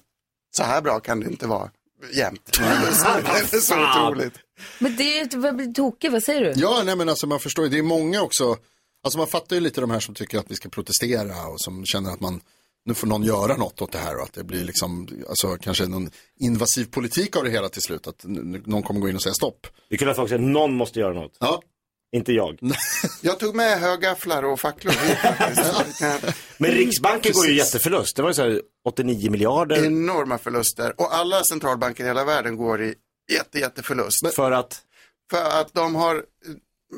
[SPEAKER 16] så här bra kan det inte vara jämt. Det är så otroligt.
[SPEAKER 1] Men det är ju vad blir tokigt, vad säger du?
[SPEAKER 2] Ja, nej men alltså man förstår ju, det är många också, alltså man fattar ju lite de här som tycker att vi ska protestera och som känner att man, nu får någon göra något åt det här och att det blir liksom, alltså kanske någon invasiv politik av det hela till slut, att n- n- någon kommer gå in och säga stopp.
[SPEAKER 4] Det är kul att folk säger, någon måste göra något.
[SPEAKER 2] Ja.
[SPEAKER 4] Inte
[SPEAKER 2] *laughs*
[SPEAKER 4] jag.
[SPEAKER 16] Jag tog med högafflar och
[SPEAKER 4] *laughs*
[SPEAKER 16] facklor hit faktiskt.
[SPEAKER 4] Men Riksbanken går ju
[SPEAKER 16] Precis.
[SPEAKER 4] jätteförlust. Det var ju så här 89 miljarder.
[SPEAKER 16] Enorma förluster. Och alla centralbanker i hela världen går i jätte, jätteförlust.
[SPEAKER 4] För att?
[SPEAKER 16] För att de har,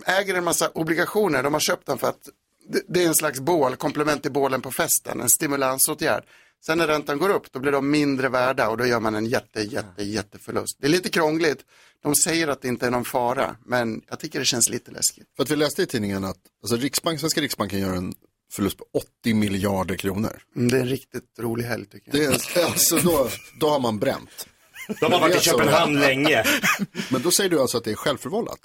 [SPEAKER 16] äger en massa obligationer. De har köpt dem för att det- det är en slags bål, komplement till bålen på festen, en stimulansåtgärd. Sen när räntan går upp, då blir de mindre värda och då gör man en jätte, jätte, jätteförlust. Det är lite krångligt. De säger att det inte är någon fara, men jag tycker det känns lite läskigt.
[SPEAKER 2] För att vi läste i tidningen att alltså, Riksbank, Svenska Riksbanken gör en förlust på 80 miljarder kronor.
[SPEAKER 16] Mm, Det är en riktigt rolig helg tycker
[SPEAKER 2] Det är, alltså då, då har man bränt.
[SPEAKER 4] De har varit
[SPEAKER 2] Det
[SPEAKER 4] i
[SPEAKER 2] är så.
[SPEAKER 4] Köpenhamn länge.
[SPEAKER 2] *laughs* Men då säger du alltså att det är självförvållat?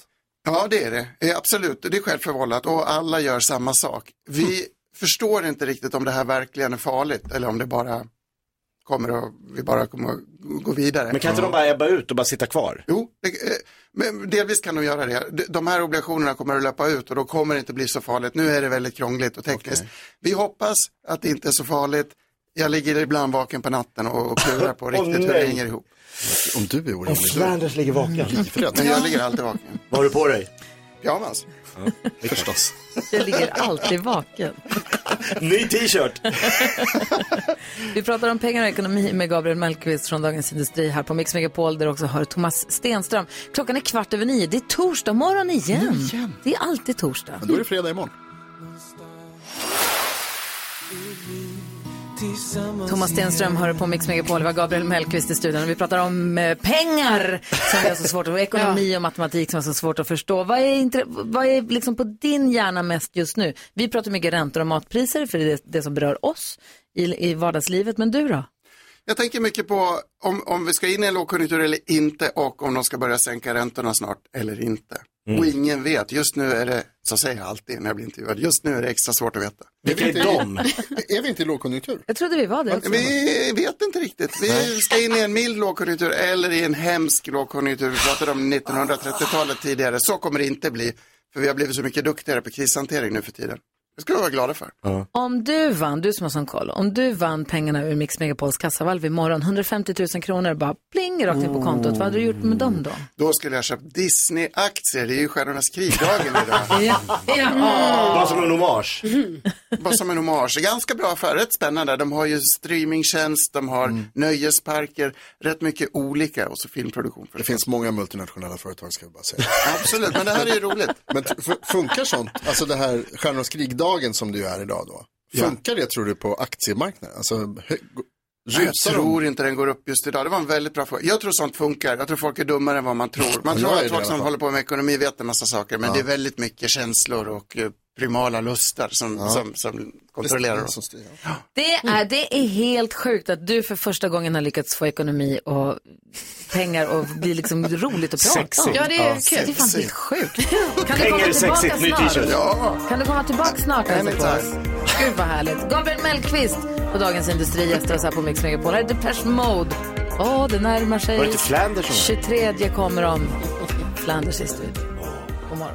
[SPEAKER 16] Ja, det är det. Eh, Absolut, det är självförvållat och alla gör samma sak. Vi
[SPEAKER 2] Hm.
[SPEAKER 16] förstår inte riktigt om det här verkligen är farligt eller om det bara kommer att, vi bara kommer att gå vidare.
[SPEAKER 4] Men kan inte de bara ebba ut och bara sitta kvar?
[SPEAKER 16] Jo, det, eh, men delvis kan de göra det. De- De här obligationerna kommer att löpa ut och då kommer det inte bli så farligt. Nu är det väldigt krångligt och tekniskt. Vi hoppas att det inte är så farligt. Jag ligger ibland vaken på natten och och klurar på
[SPEAKER 4] *laughs* Åh,
[SPEAKER 16] riktigt hur det
[SPEAKER 4] nej.
[SPEAKER 16] hänger ihop.
[SPEAKER 2] Om du är orolig.
[SPEAKER 4] Flanders ligger vaken.
[SPEAKER 16] Men jag ligger alltid vaken.
[SPEAKER 4] Vad har du på dig?
[SPEAKER 16] Pyjamas. *laughs*
[SPEAKER 4] Ja, förstås.
[SPEAKER 1] Jag ligger alltid vaken.
[SPEAKER 4] Ny t-shirt.
[SPEAKER 1] Vi pratar om pengar och ekonomi med Gabriel Mellqvist från Dagens Industri här på Mix Megapol där också hör Thomas Stenström. Klockan är kvart över nio, det är torsdag morgon igen. Det är alltid torsdag.
[SPEAKER 2] Men då är det fredag imorgon.
[SPEAKER 1] Thomas Stenström hör på Mix Megapol, det var Gabriel Mellqvist i studion. Vi pratar om eh, pengar som vi har så svårt att, och ekonomi och matematik som är så svårt att förstå. Vad är, intre, vad är liksom på din hjärna mest just nu? Vi pratar mycket räntor och matpriser för det är det, det som berör oss i, i vardagslivet. Men du då?
[SPEAKER 16] Jag tänker mycket på om, om vi ska in i en lågkonjunktur eller inte och om de ska börja sänka räntorna snart eller inte.
[SPEAKER 4] Mm.
[SPEAKER 16] Och ingen vet. Just nu är det, så säger jag alltid när jag blir intervjuad, just nu är det extra svårt att veta.
[SPEAKER 2] Vilka är de? Är vi inte i lågkonjunktur?
[SPEAKER 1] Jag trodde vi var det. också.
[SPEAKER 16] Vi vet inte riktigt. Vi ska in i en mild lågkonjunktur eller i en hemsk lågkonjunktur. Vi pratade om 1930-talet tidigare. Så kommer det inte bli. För vi har blivit så mycket duktigare på krishantering nu för tiden. Det ska vi vara glada för.
[SPEAKER 1] Om du vann, du som har sån koll, om du vann pengarna ur Mix Megapols kassavalv imorgon, 150 000 kronor, bara pling rakt in på kontot. Vad hade du gjort med dem då?
[SPEAKER 16] Då skulle jag köpt Disney-aktier. Det är ju Stjärnornas krig-dagen
[SPEAKER 1] *laughs*
[SPEAKER 16] idag.
[SPEAKER 1] Mm.
[SPEAKER 4] Bara som en hommage.
[SPEAKER 16] Bara som en hommage. Ganska bra affär, rätt spännande. De har ju streamingtjänst, de har
[SPEAKER 2] Mm.
[SPEAKER 16] nöjesparker, rätt mycket olika och så filmproduktion.
[SPEAKER 2] Det finns många multinationella företag ska vi bara säga.
[SPEAKER 16] *laughs* Absolut, men det här är ju roligt.
[SPEAKER 2] Men t- fu- funkar sånt, alltså det här Stjärnornas krig-dagen som det ju är idag då? Funkar det tror du på aktiemarknaden? Alltså, hö- go-
[SPEAKER 16] Nej, Jag
[SPEAKER 2] rusar de?
[SPEAKER 16] tror inte den går upp just idag. Det var en väldigt bra fråga. Jag tror sånt funkar. Jag tror folk är dummare än vad man tror. Man
[SPEAKER 2] Ja,
[SPEAKER 16] tror
[SPEAKER 2] jag
[SPEAKER 16] att
[SPEAKER 2] är det i alla
[SPEAKER 16] folk som
[SPEAKER 2] fall.
[SPEAKER 16] håller på med ekonomi vet en massa saker, men
[SPEAKER 2] Ja.
[SPEAKER 16] det är väldigt mycket känslor och eh, primala lustar som,
[SPEAKER 2] Ja.
[SPEAKER 16] som, som kontrollerar
[SPEAKER 2] Det är
[SPEAKER 16] oss.
[SPEAKER 2] som
[SPEAKER 1] Det är, det är helt sjukt att du för första gången har lyckats få ekonomi och pengar och bli liksom roligt att prata om.
[SPEAKER 5] Sexigt. Ja, det är Ja, kul.
[SPEAKER 1] Det är fan
[SPEAKER 5] sexigt.
[SPEAKER 1] helt sjukt. Kan du
[SPEAKER 5] Pengar
[SPEAKER 1] komma
[SPEAKER 5] är
[SPEAKER 1] tillbaka
[SPEAKER 5] sexigt, ny
[SPEAKER 1] snart?
[SPEAKER 5] t-shirt. Ja.
[SPEAKER 1] Kan du komma tillbaka snart och hälsa på oss?
[SPEAKER 5] Anytime.
[SPEAKER 1] Gud vad härligt. Gabriel Mellqvist på Dagens Industri gästar oss här på Mix Megapol. Här är Depeche Mode. Åh, det närmar sig.
[SPEAKER 4] Var det inte Flanders som
[SPEAKER 1] 23 kommer de. Flanders i studion. God morgon.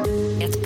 [SPEAKER 18] Ett